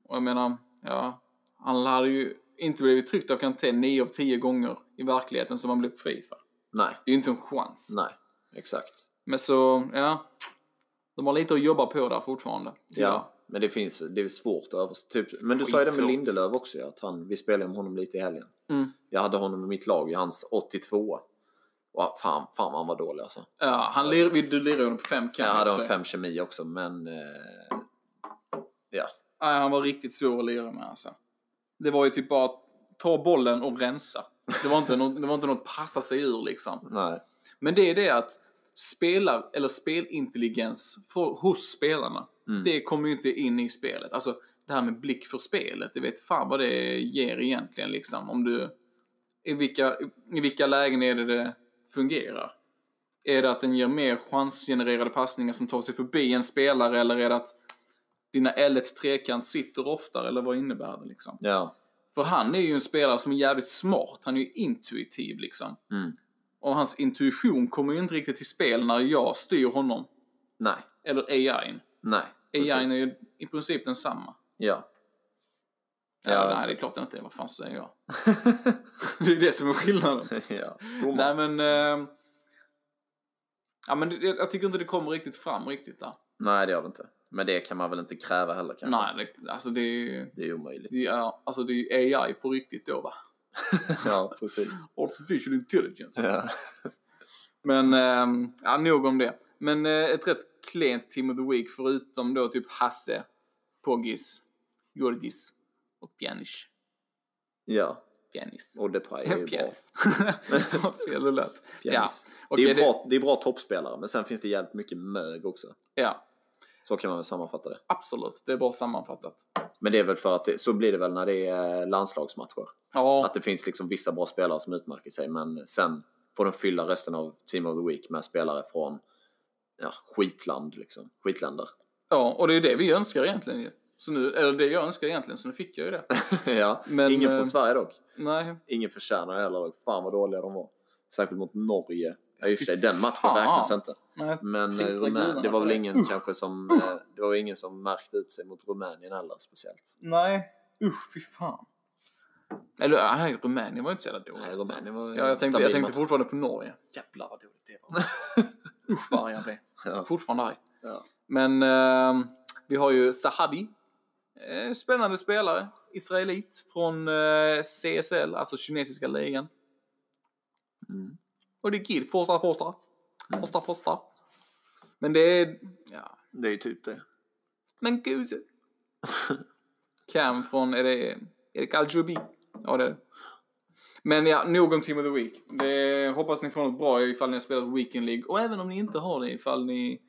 Speaker 2: Och jag menar, ja. Han hade ju inte blivit tryckt av Kanté 9 av 10 gånger i verkligheten som han blev på Fifa.
Speaker 3: Nej,
Speaker 2: Det är ju inte en chans.
Speaker 3: nej. Exakt.
Speaker 2: Men så, ja. De har lite att jobba på där fortfarande.
Speaker 3: Ja. Men det finns, det är svårt att översätta. Typ, men du sa ju det med
Speaker 2: Skitsvårt. Mm.
Speaker 3: Lindelöf också, ja, att han, vi spelade om honom lite i helgen. Jag hade honom i mitt lag i hans 82. Och fan, fan vad han var dålig alltså.
Speaker 2: ja han lir, vi- du lirar ju honom på 5 kan
Speaker 3: Jag hade en
Speaker 2: säga.
Speaker 3: 5 kemi också, men... Eh, ja,
Speaker 2: Nej, han var riktigt svår att lira med alltså. Det var ju typ bara att ta bollen och rensa. Det var inte något, det var inte något passa sig ur liksom.
Speaker 3: nej.
Speaker 2: Men det är det att spelar eller spelintelligens för, hos spelarna, det kommer ju inte in i spelet. Alltså det här med blick för spelet, det vet fan vad det ger egentligen liksom. Om du i vilka, i vilka lägen är det det fungerar? Är det att den ger mer chansgenererade passningar som tar sig förbi en spelare eller är det att dina L1 trekant sitter oftare eller vad innebär det liksom?
Speaker 3: Ja.
Speaker 2: För han är ju en spelare som är jävligt smart, han är ju intuitiv liksom.
Speaker 3: Mm.
Speaker 2: Och hans intuition kommer ju inte riktigt till spel när jag styr honom,
Speaker 3: Nej.
Speaker 2: eller AI'n.
Speaker 3: Nej.
Speaker 2: AI'n är
Speaker 3: precis.
Speaker 2: ju i princip densamma.
Speaker 3: Ja.
Speaker 2: Ja,
Speaker 3: Ja, alltså,
Speaker 2: nej,
Speaker 3: exakt.
Speaker 2: det är klart den inte är. Vad fan säger
Speaker 3: [laughs]
Speaker 2: jag? det är det som är skillnaden.
Speaker 3: ja.
Speaker 2: Nej, men... Eh, ja, men det, jag tycker inte det kommer riktigt fram riktigt där.
Speaker 3: Nej, det gör det inte. Men det kan man väl inte kräva heller kanske?
Speaker 2: Nej, det, alltså det är ju...
Speaker 3: Det är omöjligt.
Speaker 2: Det är, alltså det är ju AI på riktigt då, va?
Speaker 3: [laughs] ja,
Speaker 2: [laughs]
Speaker 3: precis.
Speaker 2: Artificial intelligence.
Speaker 3: Ja.
Speaker 2: Men, eh, ja, nog om det. Men eh, ett rätt klent team of the week förutom då typ Hasse, Poggis, Jordis och Pjanic.
Speaker 3: ja.
Speaker 2: Pjanic.
Speaker 3: Och Depay är ju bra.
Speaker 2: Pjänis. [laughs] Vad fel det lät. Ja.
Speaker 3: Pjänis.
Speaker 2: Okej,
Speaker 3: det, är ju bra, det... är bra toppspelare, men sen finns det jävligt mycket mög också.
Speaker 2: Ja,
Speaker 3: Så kan man väl sammanfatta det.
Speaker 2: absolut. Det är bra sammanfattat.
Speaker 3: Men det är väl för att det, så blir det väl när det är eh, landslagsmatcher.
Speaker 2: Ja,
Speaker 3: Att det finns liksom vissa bra spelare som utmärker sig, men sen får de fylla resten av Team of the Week med spelare från ja, skitland liksom. Skitländer. [laughs]
Speaker 2: ja, och det är det vi önskar egentligen ju. Så nu, eller det jag önskar egentligen, så nu fick jag
Speaker 3: [laughs]
Speaker 2: ju det.
Speaker 3: ja,
Speaker 2: Men,
Speaker 3: ingen
Speaker 2: eh,
Speaker 3: från Sverige dock.
Speaker 2: Nej,
Speaker 3: Ingen förtjänar det heller dock. Fan vad dåliga de var. Särskilt mot Norge. Ja, i och för sig,
Speaker 2: Fy
Speaker 3: den matchen
Speaker 2: fan.
Speaker 3: räknas inte.
Speaker 2: nej.
Speaker 3: Men eh,
Speaker 2: Prisa gudarna
Speaker 3: Rumän, det var
Speaker 2: för
Speaker 3: väl
Speaker 2: det.
Speaker 3: ingen kanske som... eh, Det var ingen som märkte ut sig mot Rumänien heller speciellt.
Speaker 2: Nej, usch fy fan. Eller nej, Rumänien var ju inte så jävla dåligt.
Speaker 3: Nej, Rumänien var
Speaker 2: ja, jag tänkte, jag tänkte fortfarande på Norge.
Speaker 3: Jävlar vad dåligt det
Speaker 2: [laughs]
Speaker 3: var.
Speaker 2: Usch vad arg jag blev. Jag är Fortfarande arg.
Speaker 3: Ja.
Speaker 2: Men eh, vi har ju Sahabi. Eh, spännande spelare. Israelit från eh, CSL, alltså kinesiska ligan. Och det är Kid. Forsta, forsta. Forsta, forsta. Men det är... Ja.
Speaker 3: Det är ju typ det.
Speaker 2: Men guse. Cam från... Är det... Är det Kaljubi? Ja, det är det. Men ja, nog om Team of the Week. Det, hoppas ni får något bra ifall ni har spelat Weekend League. Och även om ni inte har det, ifall ni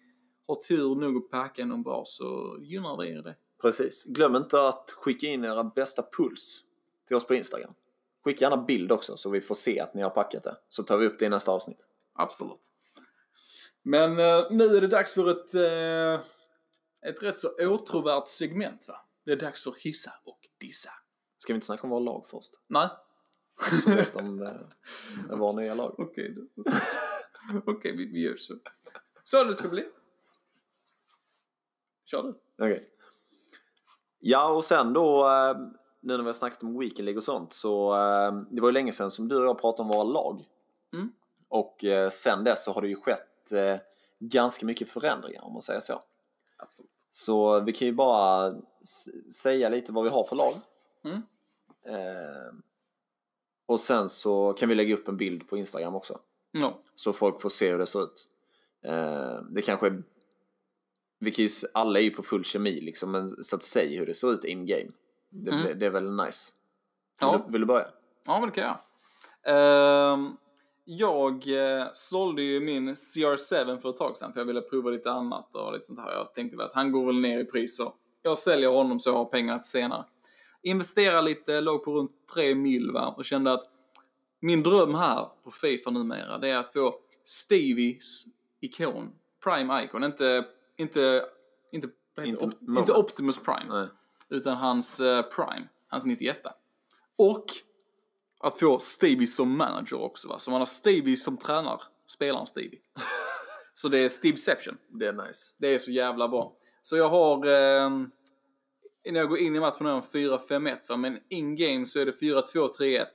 Speaker 2: har tur nog att packa någon bra så gynnar det er det.
Speaker 3: Precis. Glöm inte att skicka in era bästa puls till oss på Instagram. Skicka gärna bild också så vi får se att ni har packat det. Så tar vi upp det i nästa avsnitt.
Speaker 2: Absolut. Men eh, nu är det dags för ett, eh, ett rätt så åtråvärt segment va? Det är dags för hissa och dissa.
Speaker 3: Ska vi inte snacka om våra lag först?
Speaker 2: Nej,
Speaker 3: Berätta om eh, våra nya lag.
Speaker 2: okej då. [laughs] Okej, vi, vi gör så. Så det ska bli. Kör du.
Speaker 3: Okej. Ja, och sen då, eh, nu när vi har snackat om Weekend League och sånt, så eh, det var ju länge sedan som du och jag pratade om våra lag.
Speaker 2: Mm.
Speaker 3: Och eh, sen dess så har det ju skett eh, ganska mycket förändringar om man säger så.
Speaker 2: Absolut.
Speaker 3: Så vi kan ju bara s- säga lite vad vi har för lag.
Speaker 2: Mm.
Speaker 3: Eh, och sen så kan vi lägga upp en bild på Instagram också.
Speaker 2: Ja.
Speaker 3: Så folk får se hur det ser ut. Eh, det kanske är... Vi kan ju, s- alla är ju på full kemi liksom, men så att säga hur det ser ut in game. Det,
Speaker 2: Mm.
Speaker 3: blir- det är väl nice. Vill,
Speaker 2: Ja.
Speaker 3: du, vill du börja?
Speaker 2: Ja, men det kan jag. Ehm, jag eh, sålde ju min CR7 för ett tag sedan för jag ville prova lite annat och lite sånt här. Jag tänkte väl att han går väl ner i pris så jag säljer honom så jag har pengar till senare. Investera lite, låg på runt 3 mil va och kände att min dröm här på Fifa numera det är att få Stevies ikon, Prime Icon, inte, inte, inte, vad heter
Speaker 3: Inte
Speaker 2: det? Op-
Speaker 3: Moment.
Speaker 2: inte Optimus Prime utan hans eh, Prime, hans 91. Och att få Stevie som manager också va, så man har Stevie som tränar spelaren Stevie. så det är Steveception.
Speaker 3: Det är nice.
Speaker 2: Det är så jävla bra. Så jag har, eh, när jag går in i matchen har jag en 4-5-1 va, men in-game så är det 4-2-3-1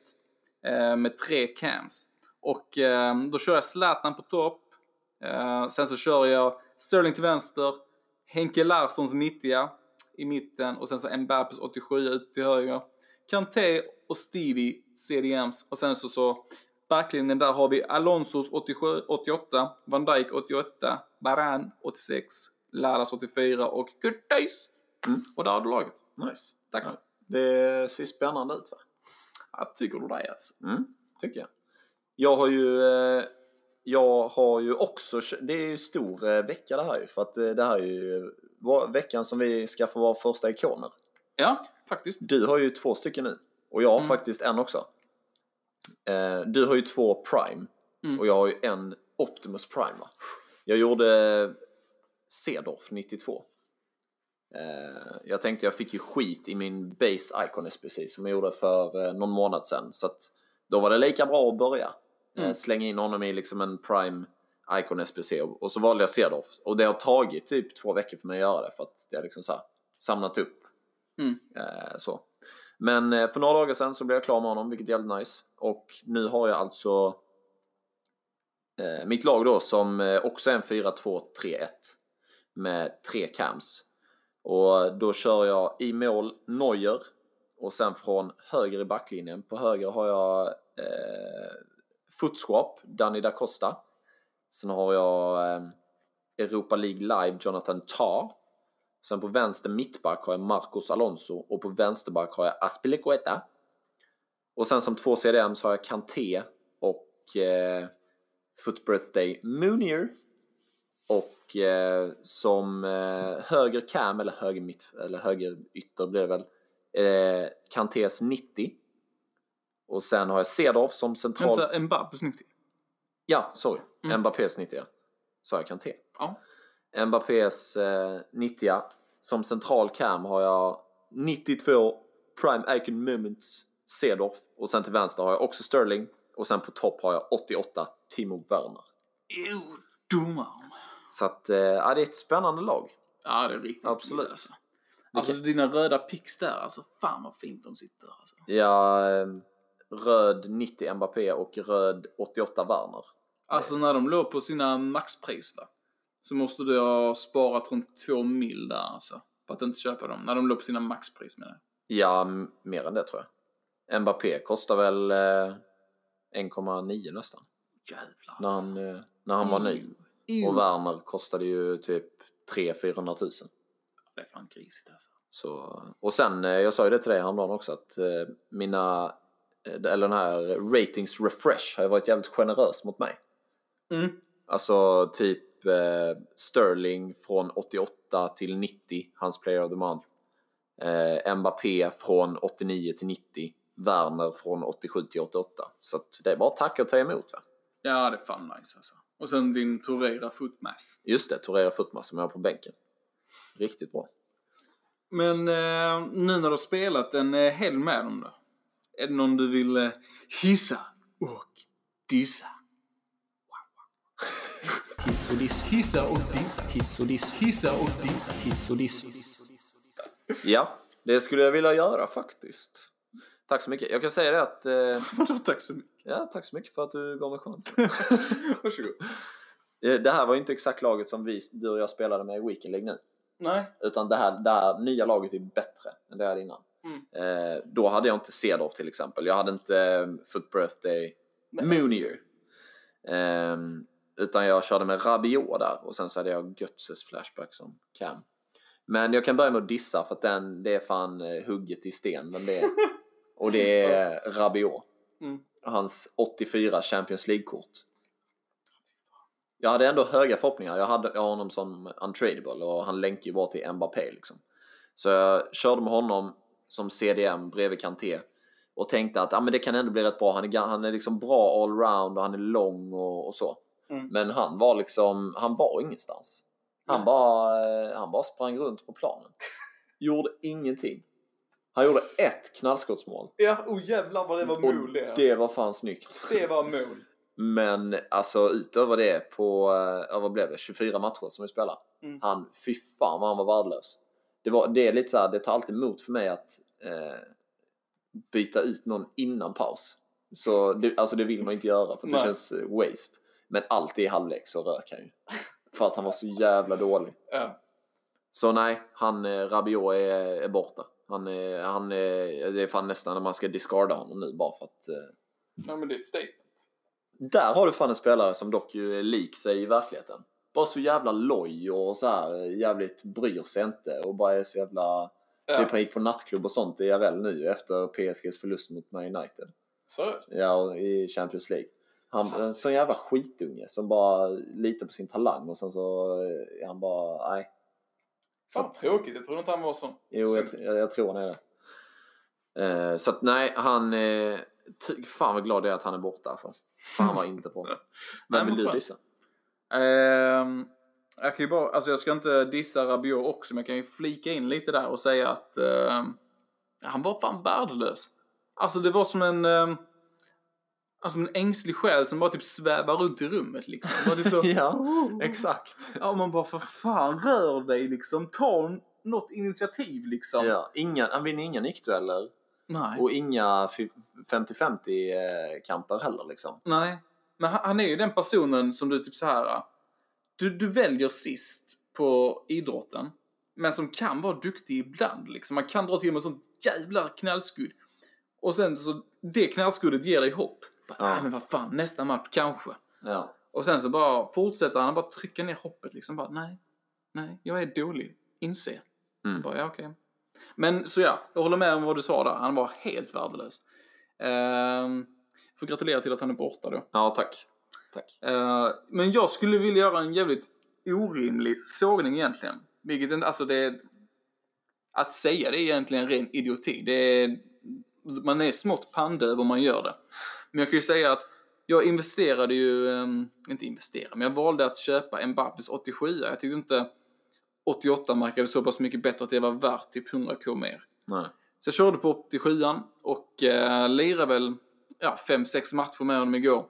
Speaker 2: eh, med tre cams. Och eh, då kör jag Zlatan på topp, eh, sen så kör jag Sterling till vänster, Henke Larssons 90 i mitten och sen så Mbappes 87 ut till höger. Kanté och Stevie CDMs och sen så, så backlinjen där har vi Alonsos 87, 88, Van Dijk 88, Baran 86, Lalas 84 och Kurtis. Och där har du laget.
Speaker 3: Nice.
Speaker 2: Tack.
Speaker 3: Mm. Ja. Det ser spännande ut va?
Speaker 2: Ja, tycker du det alltså?
Speaker 3: Mm, tycker jag. Jag har ju, eh, jag har ju också, det är ju stor eh, vecka det här ju, för att eh, det här är ju va- veckan som vi ska få vara första ikoner.
Speaker 2: Ja, faktiskt.
Speaker 3: Du har ju två stycken nu och jag har faktiskt en också. Eh, du har ju två Prime
Speaker 2: Mm.
Speaker 3: och jag har ju en Optimus Prime. Va? Jag gjorde Cedorf 92. Eh, jag tänkte jag fick ju skit i min Base Icon SPC som jag gjorde för eh, någon månad sedan. Så att då var det lika bra att börja. Eh, slänga in honom i liksom en Prime Icon SPC och, och så valde jag Cedorf. Och det har tagit typ två veckor för mig att göra det för att det har liksom så här, samlat upp Eh, så. Men eh, för några dagar sedan så blev jag klar med honom, vilket är jävligt nice. Och nu har jag alltså eh, mitt lag då som eh, också är en 4-2-3-1 med tre cams. Och då kör jag i mål Neuer och sen från höger i backlinjen. På höger har jag eh, Footswap, Danny da Costa. Sen har jag eh, Europa League Live, Jonathan Tarr. Sen på vänster mittback har jag Marcos Alonso och på vänsterback har jag Aspilicueta. Och sen som två CDM så har jag Kanté och eh, Foot Birthday Moonier. Och eh, som eh, höger cam, eller höger, mitt, eller höger ytter blir det väl, eh, Kantés 90. Och sen har jag Cedorf som central...
Speaker 2: Vänta, en Babs 90?
Speaker 3: Ja, sorry. Mbappés 90, ja. Sa jag Kanté?
Speaker 2: Ja.
Speaker 3: Mbappés eh, 90 Som central cam har jag 92 Prime Icon Moments Cedorf och sen till vänster har jag också Sterling och sen på topp har jag 88 Timo Werner.
Speaker 2: Ew, domaren.
Speaker 3: Så att, eh, ja, det är ett spännande lag.
Speaker 2: Ja, det är riktigt
Speaker 3: Absolut.
Speaker 2: fint, Alltså. alltså dina röda picks där, alltså fan vad fint de sitter. Alltså.
Speaker 3: Ja, eh, röd 90 Mbappé och röd 88 Werner.
Speaker 2: alltså när de låg på sina maxpris va, så måste du ha sparat runt två mil där alltså. På att inte köpa dem, när de låg på sina maxpris menar jag.
Speaker 3: Ja, m- mer än det tror jag. Mbappé kostar väl eh, 1,9 nästan.
Speaker 2: Jävlar alltså.
Speaker 3: När han, eh, när han var ny.
Speaker 2: Ew.
Speaker 3: Och Werner kostade ju typ 300-400 000.
Speaker 2: Det är fan grisigt alltså.
Speaker 3: Så, och sen, eh, jag sa ju det till dig häromdagen också, att eh, mina, eh, eller den här ratings refresh har ju varit jävligt generös mot mig.
Speaker 2: Mm.
Speaker 3: Alltså typ eh, Sterling från 88 till 90, hans player of the month. Eh, Mbappé från 89 till 90, Werner från 87 till 88. Så att det är bara tack och ta emot va?
Speaker 2: Ja, det är fan nice alltså. Och sen din Torera footmass.
Speaker 3: Just det, Torera Futma som jag har på bänken. Riktigt bra.
Speaker 2: Men eh, nu när du har spelat en eh, helg med dem då? Är det någon du vill eh, hissa och dissa?
Speaker 4: Hiss och diss. Hissa och diss. Hiss och diss. Hissa och diss. Hiss och diss.
Speaker 3: Ja, det skulle jag vilja göra faktiskt. Tack så mycket. Jag kan säga det att... Eh,
Speaker 2: Vadå, tack så mycket.
Speaker 3: ja, tack så mycket för att du gav mig chansen.
Speaker 2: Varsågod.
Speaker 3: Eh, det här var ju inte exakt laget som vi, du och jag spelade med i Weekend League nu.
Speaker 2: Nej.
Speaker 3: Utan det här, det här nya laget är bättre än det här innan. Eh, då hade jag inte Cedorf till exempel. Jag hade inte eh, Foot Birthday Moonier. Eh, utan jag körde med Rabiot där och sen så hade jag Götzes Flashback som cam. Men jag kan börja med att dissa för att den, det är fan eh, hugget i sten. Men det, och det är Rabiot.
Speaker 2: Mm.
Speaker 3: Hans 84 Champions League-kort. Jag hade ändå höga förhoppningar. Jag hade jag har honom som untradable och han länkar ju bara till Mbappé liksom. Så jag körde med honom som CDM bredvid Kanté och tänkte att ah, men det kan ändå bli rätt bra. Han är, ga- han är liksom bra allround och han är lång och, och så.
Speaker 2: Mm.
Speaker 3: Men han var liksom, han var ingenstans. Han bara, eh, han bara sprang runt på planen. Gjorde ingenting. Han gjorde ett knallskottsmål.
Speaker 2: Ja, oh jävlar vad det var
Speaker 3: Och
Speaker 2: mål det. alltså.
Speaker 3: det var fan snyggt.
Speaker 2: det var mål.
Speaker 3: Men alltså utöver det på, eh, ja, vad blev det, 24 matcher som vi spelar.
Speaker 2: Mm.
Speaker 3: Han, fy fan vad han var värdelös. Det, var, det är lite så här, det tar alltid emot för mig att eh, byta ut någon innan paus. Så det, alltså det vill man inte göra för att det
Speaker 2: Nej.
Speaker 3: känns eh, waste. Men alltid i halvlek så rök han ju. För att han var så jävla dålig.
Speaker 2: Ja.
Speaker 3: Så nej, han eh, Rabiot är, är borta. Han, är- han är, det är fan nästan när man ska discarda honom nu bara för att eh,
Speaker 2: Nej, men det är ett statement.
Speaker 3: där har du fan en spelare som dock ju är lik sig i verkligheten. Bara så jävla loj och så här eh, jävligt bryr sig inte och bara är så jävla...
Speaker 2: Ja.
Speaker 3: Typ han gick på nattklubb och sånt i IRL nu efter PSGs förlust mot Man United.
Speaker 2: Seriöst?
Speaker 3: Ja, och i Champions League. Han en sån jävla skitunge som bara litar på sin talang och sen så eh, är han bara... Nej.
Speaker 2: Fan vad tråkigt, jag trodde inte han var sån.
Speaker 3: Jo,
Speaker 2: Sen-
Speaker 3: jag, jag, jag tror han är det. Eh, så att nej, han... Eh, Ty- Fan vad glad jag är att han är borta alltså. Fan vad inte bra.
Speaker 2: [laughs] Nej, men
Speaker 3: Vem vill du
Speaker 2: skönt.
Speaker 3: dissa?
Speaker 2: Ehm, jag kan ju bara, alltså jag ska inte dissa Rabiot också, men jag kan ju flika in lite där och säga att ehm, han var fan värdelös. Alltså det var som en, ehm, alltså en ängslig själ som bara typ svävar runt i rummet liksom. Det var typ så,
Speaker 3: [laughs] Ja, exakt.
Speaker 2: ja man bara för fan rör dig liksom, ta n- något initiativ liksom.
Speaker 3: Ja, inga, han vinner inga nickdueller
Speaker 2: Nej.
Speaker 3: och inga fi- 50-50-kamper heller liksom.
Speaker 2: Nej, men han, han är ju den personen som du typ så här. Du, du väljer sist på idrotten, men som kan vara duktig ibland. Liksom. Man kan dra till med sånt jävla knallskudd. Och sen så, det knallskuddet ger dig hopp. Bara,
Speaker 3: Ja.
Speaker 2: "Ah, men vad fan, nästa match kanske.
Speaker 3: Ja.
Speaker 2: Och sen så bara fortsätter han att bara trycka ner hoppet liksom. Bara, nej, nej, jag är dålig. Inse. Bara, ja, okej. Men så ja, jag håller med om vad du sa där. Han var helt värdelös. Ehm, får gratulera till att han är borta då.
Speaker 3: ja, tack. Tack.
Speaker 2: Eh, men jag skulle vilja göra en jävligt orimlig sågning egentligen. Vilket inte, alltså det är... Att säga det är egentligen ren idioti. Det är, man är smått pandöv om man gör det. Men jag kan ju säga att jag investerade ju, ehm, inte investerade, men jag valde att köpa Mbappes 87 Jag tyckte inte 88 markade så pass mycket bättre att det var värt typ 100k mer.
Speaker 3: Nej.
Speaker 2: Så jag körde på 87 och eh, lirade väl ja, 5-6 matcher med honom igår.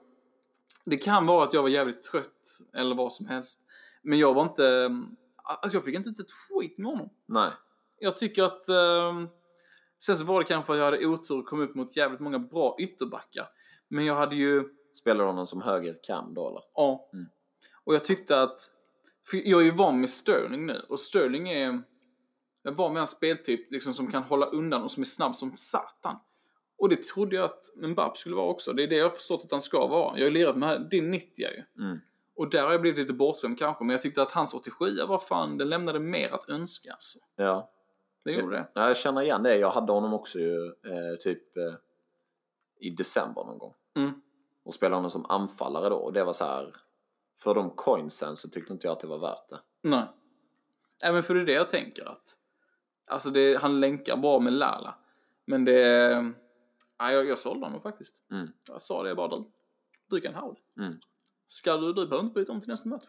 Speaker 2: Det kan vara att jag var jävligt trött eller vad som helst. Men jag var inte... Alltså jag fick inte ut ett skit med honom.
Speaker 3: Nej.
Speaker 2: Jag tycker att... Eh, sen så var det kanske att jag hade otur och kom upp mot jävligt många bra ytterbackar. Men jag hade ju...
Speaker 3: Spelar du honom som högerkam då eller?
Speaker 2: Ja. Mm. Och jag tyckte att... För jag är ju van med Sterling nu och Sterling är... Jag var med en speltyp liksom, som kan hålla undan och som är snabb som satan. Och det trodde jag att Mbappé skulle vara också. Det är det jag har förstått att han ska vara. Jag har ju lirat med din 90 ju. Och där har jag blivit lite bortskämd kanske, men jag tyckte att hans 87 var fan, den lämnade mer att önska alltså.
Speaker 3: Ja.
Speaker 2: Det gjorde det.
Speaker 3: Ja, jag känner igen det. Jag hade honom också ju, eh, typ eh, i december någon gång.
Speaker 2: Mm.
Speaker 3: Och spelade honom som anfallare då. Och det var så här. För de coinsen så tyckte inte jag att det var värt det.
Speaker 2: Nej. Nej, men för det är det jag tänker att... Alltså, det, han länkar bra med Lala. Men det... Nej, jag, jag sålde honom faktiskt.
Speaker 3: Mm.
Speaker 2: Jag sa det bara du. Du kan ha det.
Speaker 3: Mm.
Speaker 2: Ska du, du behöver inte byta om till nästa
Speaker 3: [laughs]
Speaker 2: match.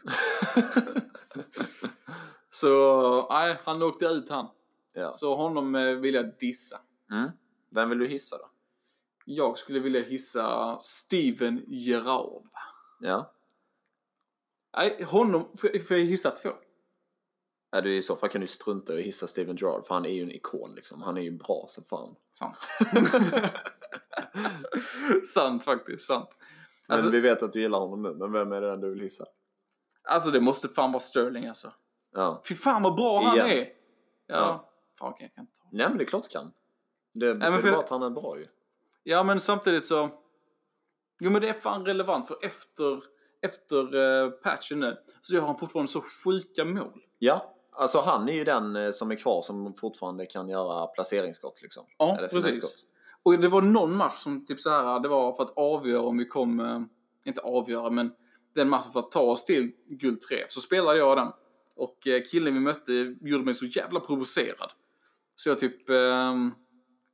Speaker 2: Så, nej, han åkte ut han.
Speaker 3: Ja.
Speaker 2: Så honom eh, vill jag dissa.
Speaker 3: Mm. Vem vill du hissa då?
Speaker 2: Jag skulle vilja hissa Steven Gerrard. va?
Speaker 3: Ja.
Speaker 2: Nej, honom får får jag hissa två.
Speaker 3: Är du i så fall kan du strunta och hissa Steven Gerrard för han är ju en ikon liksom. Han är ju bra som fan.
Speaker 2: Sant. [laughs] sant faktiskt, sant.
Speaker 3: Men
Speaker 2: Alltså-
Speaker 3: vi vet att du gillar honom nu, men vem är det den du vill hissa?
Speaker 2: Alltså det måste fan vara Sterling alltså.
Speaker 3: Ja.
Speaker 2: Fy fan vad bra han
Speaker 3: Igen.
Speaker 2: är! Ja.
Speaker 3: Ja.
Speaker 2: Fan okej, jag kan inte ta.
Speaker 3: Nej men det är klart du kan. Det betyder
Speaker 2: för-
Speaker 3: bara att han är bra ju.
Speaker 2: Ja men samtidigt så... Jo men det är fan relevant för efter, efter eh, patchen nu så gör han fortfarande så sjuka mål.
Speaker 3: Ja, alltså han är ju den eh, som är kvar som fortfarande kan göra placeringsskott liksom.
Speaker 2: Ja,
Speaker 3: Eller finessskott.
Speaker 2: precis. Och det var någon match som typ så här, det var för att avgöra om vi kom, eh, inte avgöra men den matchen för att ta oss till guld 3. Så spelade jag den. Och eh, killen vi mötte gjorde mig så jävla provocerad. Så jag typ, ehm,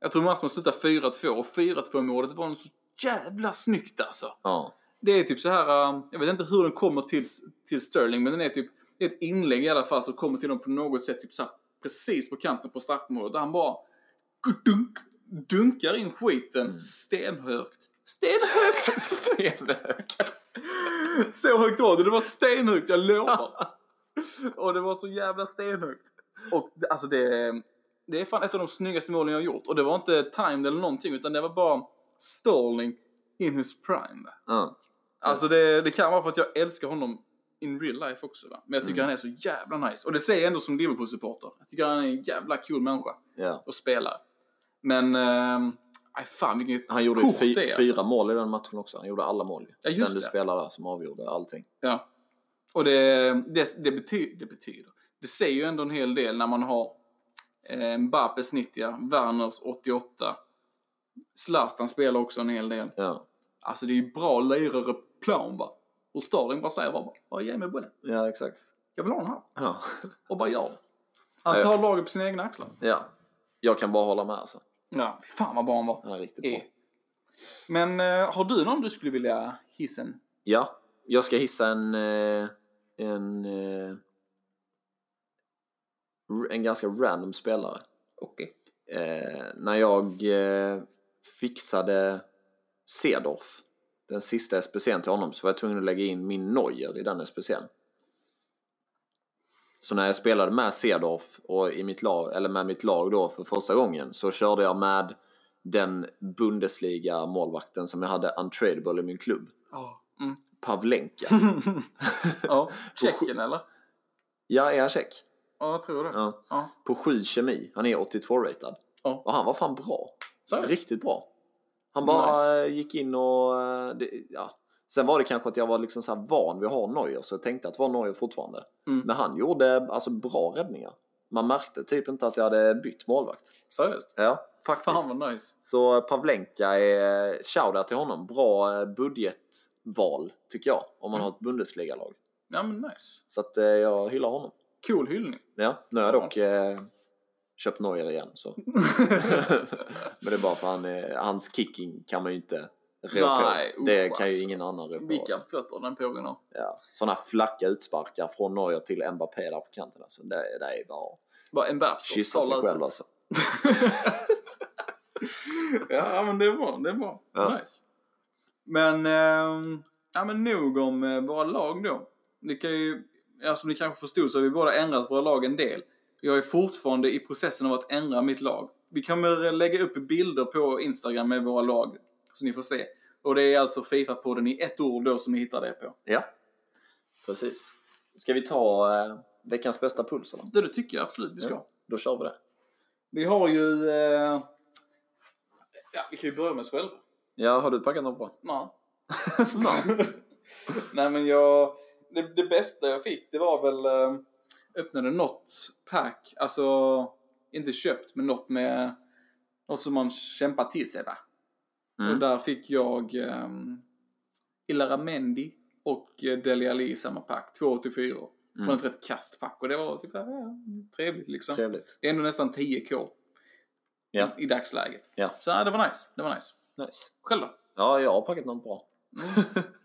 Speaker 2: jag tror matchen slutade 4-2 och 4-2 målet var nog så jävla snyggt alltså.
Speaker 3: Ja,
Speaker 2: Det är typ så här, eh, jag vet inte hur den kommer till, till Sterling, men den är typ, det är ett inlägg i alla fall som kommer till dem på något sätt, typ så här, precis på kanten på straffområdet, där han bara dunk, dunkar in skiten stenhögt. [laughs] Stenhögt! stenhögt! så högt var det, det var stenhögt, jag lovar! och det var så jävla stenhögt. Och det- alltså det, det är fan ett av de snyggaste målen jag har gjort, och det var inte timed eller någonting, utan det var bara Sterling in his prime.
Speaker 3: ja.
Speaker 2: Alltså det, det kan vara för att jag älskar honom in real life också. Va? Men jag
Speaker 3: Mm.
Speaker 2: tycker han är så jävla nice. Och det säger jag ändå som Liverpool-supporter. Jag tycker han är en jävla cool människa
Speaker 3: ja.
Speaker 2: och spelare. Men... ehm, Aj fan vilket
Speaker 3: Han gjorde ju
Speaker 2: kort
Speaker 3: fy,
Speaker 2: det är, alltså.
Speaker 3: fyra mål i den matchen också. Han gjorde alla mål ju.
Speaker 2: Ja, just
Speaker 3: den du
Speaker 2: det.
Speaker 3: spelade där som avgjorde allting.
Speaker 2: Ja. Och det, det, det, bety, det betyder... Det säger ju ändå en hel del när man har eh, Mbappes 90, Werners 88. Zlatan spelar också en hel del.
Speaker 3: Ja,
Speaker 2: Alltså det är ju bra lirare på plan va. Och Sterling bara säger bara, bara ge mig bollen.
Speaker 3: ja exakt.
Speaker 2: Jag vill ha den här.
Speaker 3: Ja.
Speaker 2: och bara gör det. Han tar laget på sina egna axlar.
Speaker 3: ja, jag kan bara hålla med alltså.
Speaker 2: Ja, fy fan vad bra han var.
Speaker 3: E- Han är riktigt bra.
Speaker 2: Eh. Men eh, har du någon du skulle vilja hissen?
Speaker 3: Ja, jag ska hissa en... eh, En, eh, r- en ganska random spelare.
Speaker 2: Okej.
Speaker 3: Eh, när jag eh, fixade Cedorf, den sista SPC'n till honom, så var jag tvungen att lägga in min Neuer i den SPC'n. Så när jag spelade med Cedorf och i mitt lag, eller med mitt lag då för första gången så körde jag med den Bundesliga målvakten som jag hade untradeable i min klubb,
Speaker 2: Ja. Mm.
Speaker 3: Pavlenka.
Speaker 2: [laughs] Ja. [laughs] Tjeckien eller?
Speaker 3: ja, är han check?
Speaker 2: Ja, jag tror det. Ja.
Speaker 3: Ja. På 7 kemi, han är 82-ratad.
Speaker 2: Ja.
Speaker 3: Och han var fan bra.
Speaker 2: Seriöst?
Speaker 3: Riktigt bra. Han bara
Speaker 2: Nice.
Speaker 3: eh, gick in och... eh, Det, ja. Sen var det kanske att jag var liksom så här van vid att ha Neuer, så jag tänkte att det var Neuer fortfarande.
Speaker 2: Mm.
Speaker 3: Men han gjorde alltså bra räddningar. Man märkte typ inte att jag hade bytt målvakt.
Speaker 2: Seriöst?
Speaker 3: Ja, faktiskt.
Speaker 2: Fan vad nice.
Speaker 3: Så eh, Pavlenka är... Shoutout till honom. Bra eh, budgetval, tycker jag,
Speaker 2: Mm.
Speaker 3: om man har ett Bundesliga-lag.
Speaker 2: Ja, men nice.
Speaker 3: Så att eh, jag hyllar honom.
Speaker 2: Cool hyllning.
Speaker 3: Ja, nu har jag dock eh, köpt Neuer igen. [laughs] Så. Men det är bara för han, eh, hans kicking kan man ju inte rå på.
Speaker 2: Nej, usch,
Speaker 3: Det kan ju
Speaker 2: alltså.
Speaker 3: ingen annan rå på.
Speaker 2: Vilka
Speaker 3: alltså.
Speaker 2: fötter den pågen har.
Speaker 3: Ja. Sådana flacka utsparkar från Neuer till Mbappé där på kanten. Alltså. Det, det är bara att
Speaker 2: Bara en Babstop.
Speaker 3: kyssa sig själv alltså.
Speaker 2: Ja, men det är bra. Det är bra. Nice. Men, ehm, ja, men nog om eh, våra lag då. Det kan ju, ja, som ni kanske förstod så har vi båda ändrat våra lag en del. Jag är fortfarande i processen av att ändra mitt lag. Vi kommer eh, lägga upp bilder på Instagram med våra lag, så ni får se. Och det är alltså Fifa-podden i ett ord då som ni hittar det på.
Speaker 3: Ja, precis. Ska vi ta eh, veckans bästa puls? Eller?
Speaker 2: Det, det tycker jag absolut vi ska.
Speaker 3: Då kör vi det.
Speaker 2: Vi har ju... Eh, ja, vi kan ju börja med oss själva.
Speaker 3: Ja, har du packat något bra?
Speaker 2: Nej. Nej men jag... Det, det bästa jag fick det var väl... eh, Öppnade något pack. Alltså, inte köpt men något med... Något som man kämpar till sig va?
Speaker 3: Mm.
Speaker 2: Och där fick jag um, Ilaramendi och eh, Dele Alli i samma pack. 284.
Speaker 3: Mm.
Speaker 2: Från ett rätt kast pack. Och det var typ eh, trevligt liksom.
Speaker 3: Trevligt.
Speaker 2: Det är ändå nästan 10k
Speaker 3: Ja.
Speaker 2: i dagsläget.
Speaker 3: Ja.
Speaker 2: Så ja, det var nice. Det var nice.
Speaker 3: Nice.
Speaker 2: Själv då?
Speaker 3: Ja, jag har packat något bra.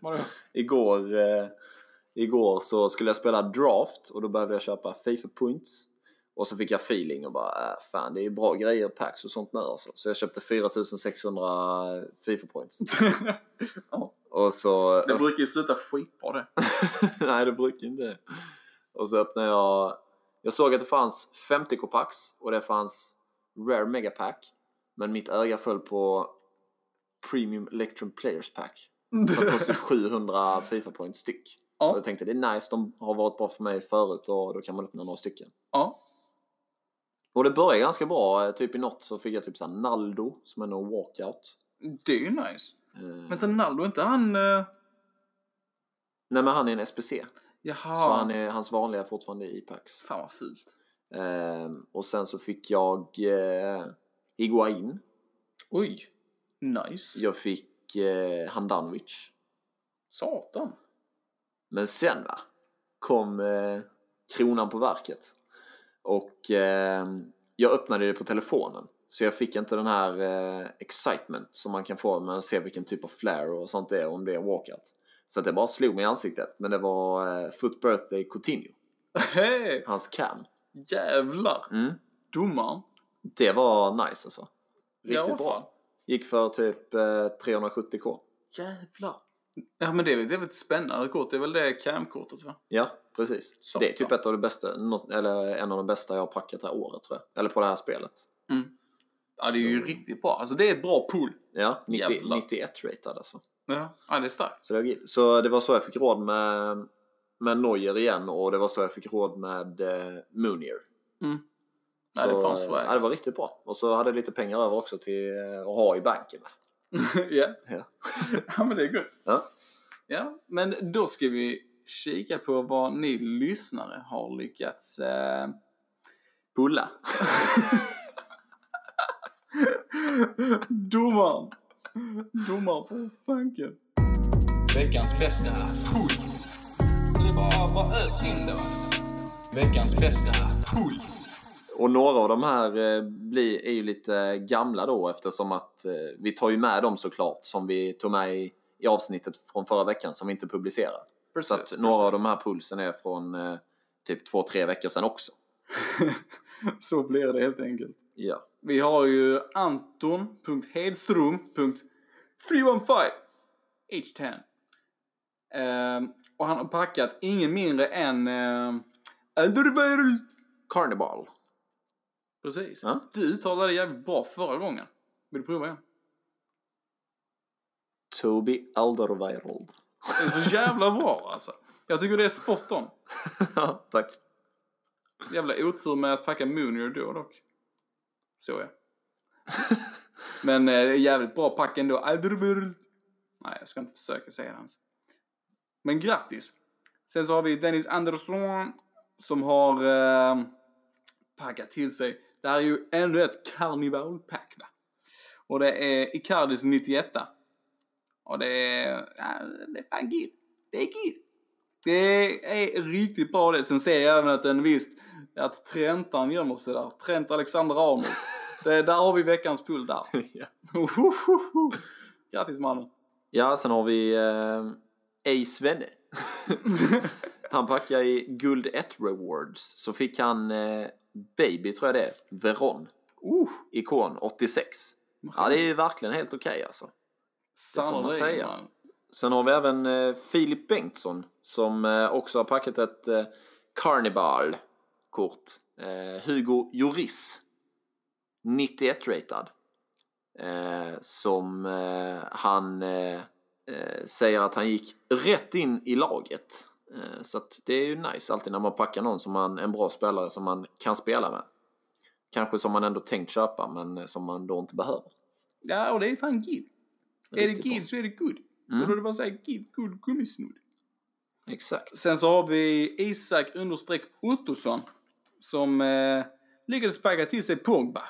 Speaker 2: Vadå?
Speaker 3: Igår, eh, igår så skulle jag spela draft och då behövde jag köpa Fifa points. Och så fick jag feeling och bara, äh, fan det är ju bra grejer, packs och sånt nu alltså. Så jag köpte 4600 Fifa points.
Speaker 2: [laughs] Ja.
Speaker 3: Och så...
Speaker 2: Det brukar ju sluta skitbra det.
Speaker 3: [laughs] Nej, det brukar inte det. Och så öppnade jag... Jag såg att det fanns 50k packs och det fanns Rare Mega Pack. Men mitt öga föll på Premium Electrum Players Pack. Som kostar 700 Fifa poäng styck.
Speaker 2: Ja.
Speaker 3: Och jag tänkte det är nice, de har varit bra för mig förut och då kan man öppna några stycken.
Speaker 2: Ja.
Speaker 3: Och det började ganska bra, eh, typ i något så fick jag typ såhär Naldo som är någon walkout.
Speaker 2: Det är ju nice.
Speaker 3: Eh.
Speaker 2: Vänta, Naldo, är inte han... eh,
Speaker 3: Nej men han är en SPC, så
Speaker 2: Jaha.
Speaker 3: han är, hans vanliga är fortfarande i packs.
Speaker 2: Fan vad fult.
Speaker 3: Ehm, och sen så fick jag eh, Iguain.
Speaker 2: Oj. Nice.
Speaker 3: Jag fick eh, Handanovic.
Speaker 2: Satan.
Speaker 3: Men sen va, kom eh, kronan på verket. Och ehm, jag öppnade det på telefonen. Så jag fick inte den här eh, excitement som man kan få när man ser vilken typ av flare och sånt det är om det är walkout. Så att det bara slog mig i ansiktet. Men det var eh, Foot Birthday Coutinho,
Speaker 2: Hej!
Speaker 3: hans cam.
Speaker 2: Jävlar. Mm. Domaren.
Speaker 3: Det var nice alltså. Riktigt
Speaker 2: Ja, fan.
Speaker 3: bra. Gick för typ eh, 370k.
Speaker 2: Jävlar. Ja, men det är, väl- det är väl ett spännande kort. Det är väl det cam-kortet, va?
Speaker 3: Ja, precis.
Speaker 2: Satan.
Speaker 3: Det är typ ett av de bästa, något, eller en av de bästa jag har packat det här året tror jag. Eller på det här spelet.
Speaker 2: Ja, det är ju riktigt bra. Alltså, det är ett bra pool.
Speaker 3: Ja, 90,
Speaker 2: Jävlar.
Speaker 3: 91 ratad alltså.
Speaker 2: Ja, ja det är starkt.
Speaker 3: Så det, var, så det var så jag fick råd med, med Neuer igen och det var så jag fick råd med eh, Moonier.
Speaker 2: Nej, det är fan
Speaker 3: eh,
Speaker 2: swag.
Speaker 3: ja, det var riktigt bra. Och så hade jag lite pengar över också till eh, att ha i banken. va?
Speaker 2: [laughs] ja.
Speaker 3: Ja.
Speaker 2: ja, men det är gott.
Speaker 3: Ja.
Speaker 2: Ja, men då ska vi kika på vad ni lyssnare har lyckats eh, pulla. [laughs] Domaren! Domaren, för fanken.
Speaker 5: Veckans bästa puls. Det var bara ös in då. Veckans bästa puls.
Speaker 3: Och några av de här eh, blir, är ju lite gamla då eftersom att eh, vi tar ju med dem såklart som vi tog med i, i avsnittet från förra veckan som vi inte publicerar.
Speaker 2: Precis,
Speaker 3: så att några av
Speaker 2: precis.
Speaker 3: de här pulsen är från eh, typ två, tre veckor sedan också.
Speaker 2: Så blir det helt enkelt.
Speaker 3: Ja.
Speaker 2: Vi har ju anton.hedström.315 H10. Ehm, och han har packat ingen mindre än um, Elderworld.
Speaker 3: Carnival.
Speaker 2: Precis.
Speaker 3: Ja.
Speaker 2: Du uttalade det jävligt bra förra gången. Vill du prova igen?
Speaker 3: Toby Alderweireld.
Speaker 2: Det är så jävla bra alltså. Jag tycker det är spot on.
Speaker 3: Tack.
Speaker 2: Jävla otur med att packa Moonir då dock. Så jag. Men eh, det är jävligt bra pack ändå. Adderworld. Nej, jag ska inte försöka säga det ens. Men grattis! Sen så har vi Dennis Andersson som har eh, packat till sig. Det här är ju ännu ett karnevalpack va? Och det är Icardis 91. Och det är... ja, Det är fan gid. Det är gid. Det är riktigt bra det. Sen ser jag även att en visst, att Trentan gömmer sig där. Trent Alexander Arnold. Det, där har vi veckans pull [laughs] där.
Speaker 3: Ja.
Speaker 2: Grattis mannen.
Speaker 3: Ja, sen har vi eh, A. [laughs] Svenne. han packar i Guld 1 Rewards. Så fick han eh, Baby, tror jag det är, Veron.
Speaker 2: Uh,
Speaker 3: Ikon 86. Ja, det är ju verkligen helt okej alltså.
Speaker 2: sanna
Speaker 3: man
Speaker 2: regler,
Speaker 3: säga.
Speaker 2: man.
Speaker 3: Sen har vi även eh, Filip Bengtsson som eh, också har packat ett eh, Carnival-kort. Eh, Hugo Juris, 91-ratad. Eh, som eh, han eh, eh, säger att han gick rätt in i laget. Eh, så att det är ju nice alltid när man packar någon som man, en bra spelare som man kan spela med. Kanske som man ändå tänkt köpa men eh, som man då inte behöver.
Speaker 2: Ja, och det är fan gid. Är Mm. det
Speaker 3: Riktigt bra.
Speaker 2: gid så är det good. Och då är det bara såhär gid, good, gummisnodd.
Speaker 3: Exakt.
Speaker 2: Sen så har vi Isak understreck Ottosson som eh, lyckades packa till sig Pogba.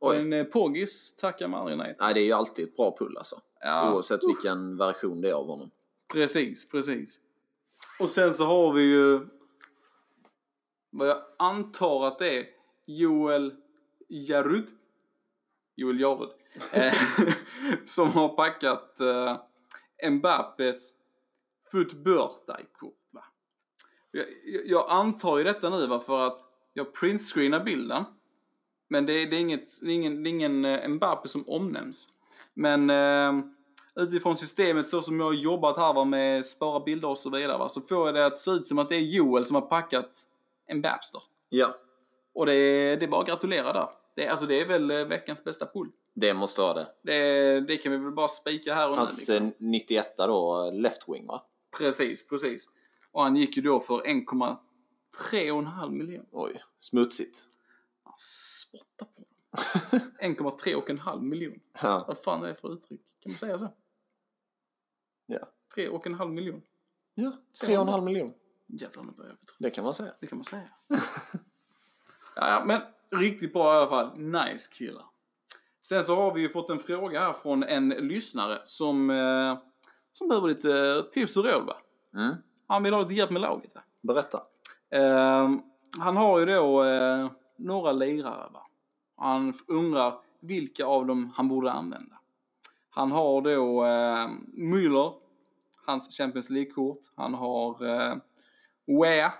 Speaker 2: Och
Speaker 3: Oj.
Speaker 2: en eh, Pogis tackar man aldrig nej till.
Speaker 3: Nej, det är ju alltid ett bra pull alltså.
Speaker 2: Ja.
Speaker 3: Oavsett vilken version det är av honom.
Speaker 2: Precis, precis. Och sen så har vi ju vad jag antar att det är Joel Jarud. Joel Jarud. eh, [laughs] som har packat eh, Mbappes footbirthday-kort. Va? Jag, jag- jag antar ju detta nu va, för att jag printscreenar bilden. Men det, är- det, är inget, det, är ingen, det är ingen eh, Mbappe som omnämns. Men eh, utifrån systemet så som jag har jobbat här va, med spara bilder och så vidare va, så får jag det att se ut som att det är Joel som har packat en Babster.
Speaker 3: Ja,
Speaker 2: Och det är, det är bara att gratulera där. Det, är- alltså, det är väl eh, veckans bästa pull.
Speaker 3: det måste vara det.
Speaker 2: Det, det kan vi väl bara spika här och nu.
Speaker 3: Hans
Speaker 2: liksom.
Speaker 3: eh, 91 då, left wing va?
Speaker 2: Precis, precis. Och han gick ju då för 1,3,5 miljoner.
Speaker 3: Oj, smutsigt.
Speaker 2: Spotta på honom. 1,3,5 miljoner.
Speaker 3: Ja.
Speaker 2: Vad fan är det för uttryck? Kan man säga så?
Speaker 3: Ja.
Speaker 2: 3,5 miljoner.
Speaker 3: ja, 3,5 miljon.
Speaker 2: Jävlar, nu börjar jag bli trött.
Speaker 3: Det kan man säga.
Speaker 2: Det kan man säga. [laughs] ja, ja, men riktigt bra i alla fall. Nice killar. Sen så har vi ju fått en fråga här från en lyssnare som, eh, som behöver lite eh, tips och råd va?
Speaker 3: Mm.
Speaker 2: Han vill ha lite hjälp med laget va?
Speaker 3: Berätta.
Speaker 2: Ehm, han har ju då eh, några lirare. Va? Han undrar vilka av dem han borde använda. Han har då eh, Müller, hans Champions League-kort. Han har eh, Wea,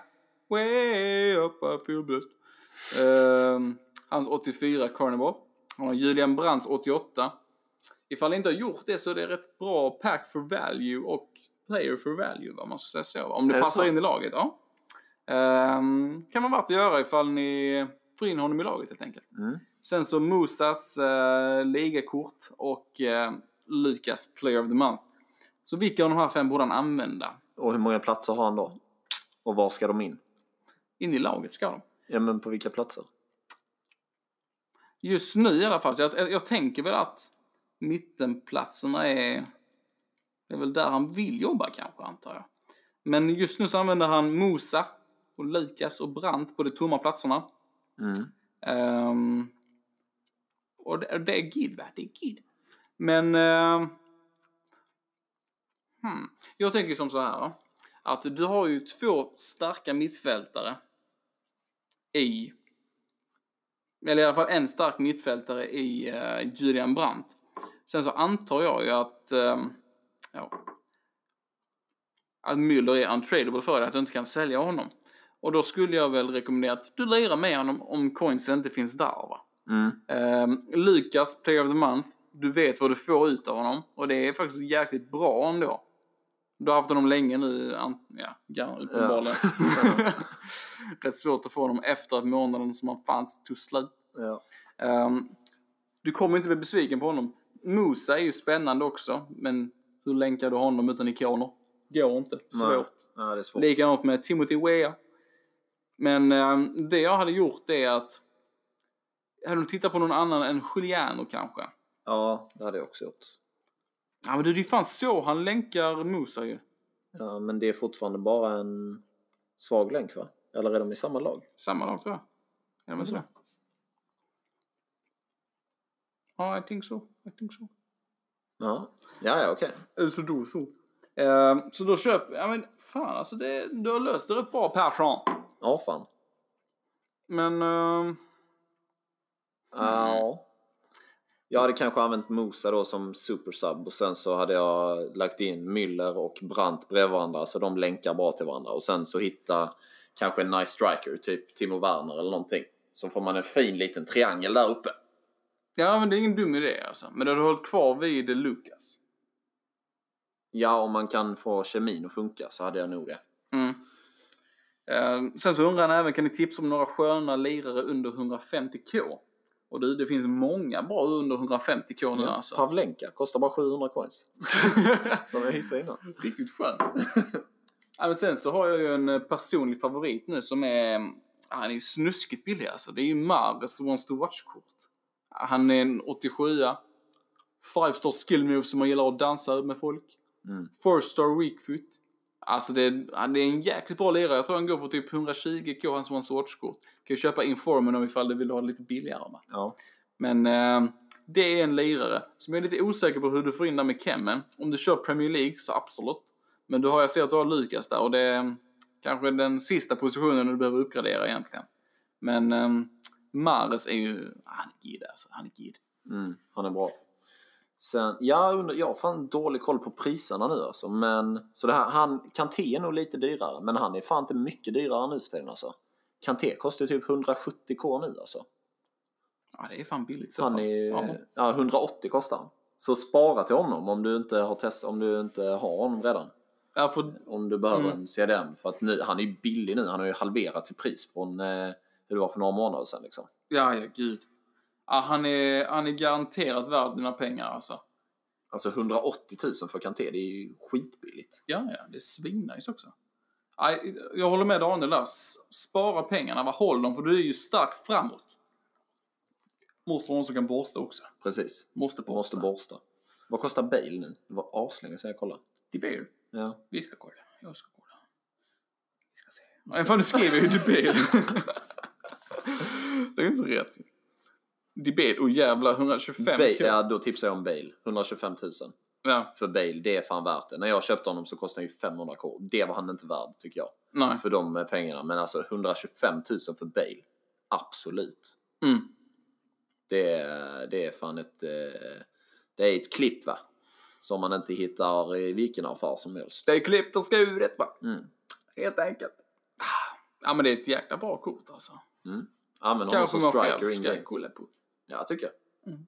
Speaker 2: Way up I feel blessed. Ehm, hans 84 Carnival. Han har Julian Brands 88. Ifall ni inte har gjort det så är det rätt bra pack for value och player for value, vad man ska säga så. va? Om det
Speaker 3: Är det
Speaker 2: passar
Speaker 3: så?
Speaker 2: in i laget, ja. Ehm, kan vara värt att göra ifall ni får in honom i laget helt enkelt.
Speaker 3: Mm.
Speaker 2: Sen så Musas eh, ligakort och eh, Lukas Player of the Month. Så vilka av de här fem borde han använda?
Speaker 3: Och hur många platser har han då? Och var ska de in?
Speaker 2: In i laget ska de.
Speaker 3: Ja, men på vilka platser?
Speaker 2: Just nu i alla fall. Så jag, jag, jag tänker väl att mittenplatserna är... Det är väl där han vill jobba kanske, antar jag. Men just nu så använder han Musa och Lukas och Brandt på de tomma platserna.
Speaker 3: Mm.
Speaker 2: Ehm, och det, det är gid, va? Det är gid. Men... ehm, hmm. Jag tänker som så här. va? Att du har ju två starka mittfältare i eller i alla fall en stark mittfältare i eh, Julian Brandt. Sen så antar jag ju att, ehm, ja, att Müller är untradeable för det, att du inte kan sälja honom. Och då skulle jag väl rekommendera att du lirar med honom om coinsen inte finns där va. Ehm, Lukas, Player of the Month, du vet vad du får ut av honom och det är faktiskt jäkligt bra ändå. Du har haft honom länge nu, an- ja, gärna uppenbarligen. [laughs] Rätt svårt att få honom efter att månaden som han fanns tog slut.
Speaker 3: Ja.
Speaker 2: Ehm, du kommer inte bli besviken på honom. Musa är ju spännande också, men hur länkar du honom utan ikoner? Går inte. Svårt.
Speaker 3: Nej. Nej, det är svårt.
Speaker 2: Likadant med Timothy Weah. Men ehm, det jag hade gjort är att... Jag hade nog tittat på någon annan än Giuliano kanske.
Speaker 3: Ja, det hade jag också gjort.
Speaker 2: Ja men det är ju fan så han länkar Musa ju.
Speaker 3: Ja, men det är fortfarande bara en svag länk va? Eller är de i samma lag?
Speaker 2: Samma dag tror jag. Är de inte det? Ja, I think so. I think so.
Speaker 3: Ja, ja, ja okej.
Speaker 2: Eller så då så. så då köper... Ja men fan alltså det, du har löst det rätt bra Persson.
Speaker 3: Ja, fan.
Speaker 2: Men... ehm,
Speaker 3: Ja. Jag hade kanske använt Musa då som supersub och sen så hade jag lagt in Müller och Brandt bredvid varandra så de länkar bra till varandra och sen så hitta kanske en nice striker, typ Timo Werner eller någonting. Så får man en fin liten triangel där uppe.
Speaker 2: ja men det är ingen dum idé alltså. Men du har du hållit kvar vid Lukas.
Speaker 3: Ja, om man kan få kemin att funka så hade jag nog det.
Speaker 2: Eh, sen så undrar han även, kan ni tipsa om några sköna lirare under 150k? Och du, det finns många bra under 150k nu alltså. [laughs]
Speaker 3: Pavlenka kostar bara 700 coins. som jag hissade innan.
Speaker 2: Riktigt skönt. [laughs] ja, men sen så har jag ju en eh, personlig favorit nu som är... ah, Han är ju snuskigt billig alltså. Det är ju Mares Wants to Watch-kort. Ah, Han är en 87a. Five star skill move som man gillar att dansa med folk. Four star weak foot. Alltså det är, han är en jäkligt bra lirare. Jag tror han går på typ 120k, hans Wants to Watch-kort. Kan ju köpa informen om ifall du vill ha det lite billigare. Man.
Speaker 3: Ja.
Speaker 2: Men eh, det är en lirare som jag är lite osäker på hur du får in där med Kemmen. Om du kör Premier League så absolut. Men du har, jag ser att du har Lukas där och det är mm, kanske den sista positionen du behöver uppgradera egentligen. Men eh, Mares är ju, han är gid alltså, han är gid.
Speaker 3: Mm, han är bra. Sen, jag, undrar, jag har fan dålig koll på priserna nu alltså. Men, så det här, han, Kanté är nog lite dyrare, men han är fan inte mycket dyrare nu för tiden alltså. Kanté kostar typ 170k nu alltså.
Speaker 2: Ja det är fan billigt så
Speaker 3: Han
Speaker 2: fall.
Speaker 3: är,
Speaker 2: Ja,
Speaker 3: ja, 180 kostar han. Så spara till honom om du inte har testat, om du inte har honom redan.
Speaker 2: ja, för,
Speaker 3: Om du behöver
Speaker 2: Mm.
Speaker 3: en CDM. För att nu, han är ju billig nu, han har ju halverat i pris från eh, hur det var för några månader sedan liksom.
Speaker 2: ja, ja gud. Ja, han, är, han är garanterat värd dina pengar alltså.
Speaker 3: Alltså 180 000 för Kanté, det är ju skitbilligt.
Speaker 2: Ja, ja, det är svinnice också. Nej, jag håller med Daniel där. S- Spara pengarna, va? håll dem, för du är ju stark framåt. Måste någon som kan borsta också.
Speaker 3: Precis.
Speaker 2: Måste
Speaker 3: Jag
Speaker 2: borsta.
Speaker 3: måste borsta. Vad kostar Bale nu? Det var aslänge sedan jag kollade.
Speaker 2: Det blir
Speaker 3: Ja.
Speaker 2: Vi ska kolla. Jag ska kolla. Vi ska se. Nej, fan, nu skrev jag ju
Speaker 3: [laughs]
Speaker 2: Dibel. det är inte så rätt ju. Dibel, oh jävlar, 125
Speaker 3: Bale,
Speaker 2: kronor.
Speaker 3: ja, då tipsar jag om Bale. 125 000.
Speaker 2: Ja,
Speaker 3: För Bale, det är fan värt det. När jag köpte honom så kostade han ju 500 k. Det var han inte värd, tycker jag.
Speaker 2: nej.
Speaker 3: För de eh, pengarna. Men alltså 125 000 för Bale. Absolut.
Speaker 2: Mm.
Speaker 3: Det, är- det är fan ett... eh, Det är ett klipp, va? Som man inte hittar i vilken affär som helst.
Speaker 2: Det är klippt och skuret va?
Speaker 3: Mm.
Speaker 2: Helt enkelt. Ah, Ja, men det är ett jäkla bra kort alltså.
Speaker 3: Använd honom
Speaker 2: Kanske
Speaker 3: som
Speaker 2: man själv
Speaker 3: striker in
Speaker 2: ska
Speaker 3: game.
Speaker 2: kolla på.
Speaker 3: Ja, jag tycker jag.
Speaker 2: Mm.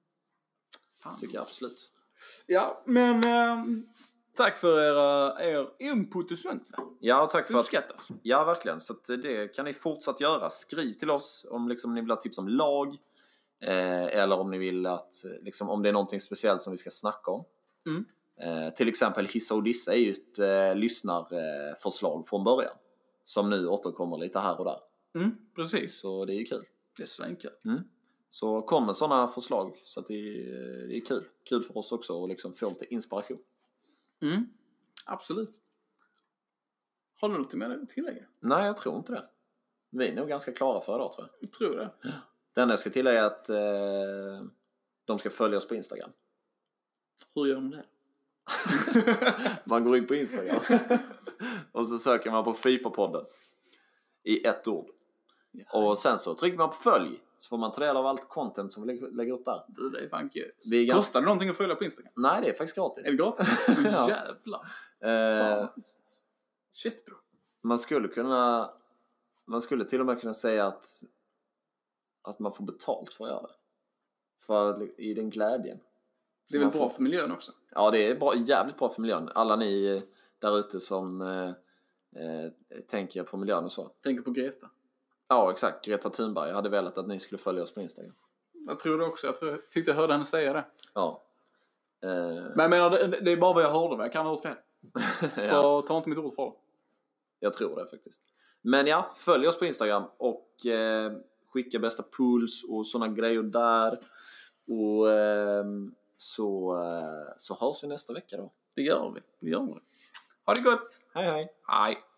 Speaker 2: Fan.
Speaker 3: Tycker jag absolut.
Speaker 2: Ja, men
Speaker 3: eh,
Speaker 2: ehm, tack för era, er input och sånt. va?
Speaker 3: Ja, och tack för att
Speaker 2: Uppskattas.
Speaker 3: Ja, verkligen. Så att det kan ni fortsatt göra. Skriv till oss om liksom, ni vill ha tips om lag eh, eller om ni vill att, eh, liksom, om det är någonting speciellt som vi ska snacka om.
Speaker 2: Mm.
Speaker 3: Eh, till exempel Hissa och Dissa är ju ett eh, lyssnarförslag från början som nu återkommer lite här och där.
Speaker 2: Mm, precis.
Speaker 3: Så det är ju kul.
Speaker 2: Det är svinkul.
Speaker 3: Så kom med sådana förslag så att det, är- det är kul. Kul för oss också att liksom få lite inspiration.
Speaker 2: Mm, absolut. Har du något mer att tillägga?
Speaker 3: Nej, jag tror inte det. Vi är nog ganska klara för idag tror jag.
Speaker 2: Jag tror det.
Speaker 3: Det enda jag ska tillägga är att eh, de ska följa oss på Instagram.
Speaker 2: Hur gör de det?
Speaker 3: [laughs] Man går in på [laughs] Instagram och så söker man på Fifa-podden i ett ord. Och sen så trycker man på följ Så får man ta del av allt content som vi lä- lägger upp där.
Speaker 2: Du, det är fan gött.
Speaker 3: Det är ganska-
Speaker 2: Kostar det någonting att följa på Instagram?
Speaker 3: Nej, det är faktiskt gratis.
Speaker 2: Är det [laughs] gratis?
Speaker 3: Ja.
Speaker 2: Jävlar.
Speaker 3: Eh,
Speaker 2: Fan. Shit bro.
Speaker 3: man skulle kunna... Man skulle till och med kunna säga att, att man får betalt för att göra det. För att- i den glädjen.
Speaker 2: Det är väl bra för miljön också?
Speaker 3: Ja, det är bra, jävligt bra för miljön. Alla ni eh, där ute som eh, eh, tänker på miljön och så.
Speaker 2: Tänker på Greta.
Speaker 3: Ja, exakt. Greta Thunberg. Jag hade velat att ni skulle följa oss på Instagram.
Speaker 2: Jag tror det också. Jag tror, jag tyckte jag hörde henne säga det.
Speaker 3: Ja. Eh,
Speaker 2: Men jag menar, det, det är bara vad jag hörde. men Jag kan ha hört
Speaker 3: [laughs]
Speaker 2: fel. Så
Speaker 3: ja,
Speaker 2: ta inte mitt ord för det.
Speaker 3: jag tror det faktiskt. Men ja, följ oss på Instagram och eh, skicka bästa pools och sådana grejer där. Och ehm, så, eh, så hörs vi nästa vecka då.
Speaker 2: Det gör vi. Det gör vi. Ha det gott!
Speaker 3: Hej hej!
Speaker 2: Hej!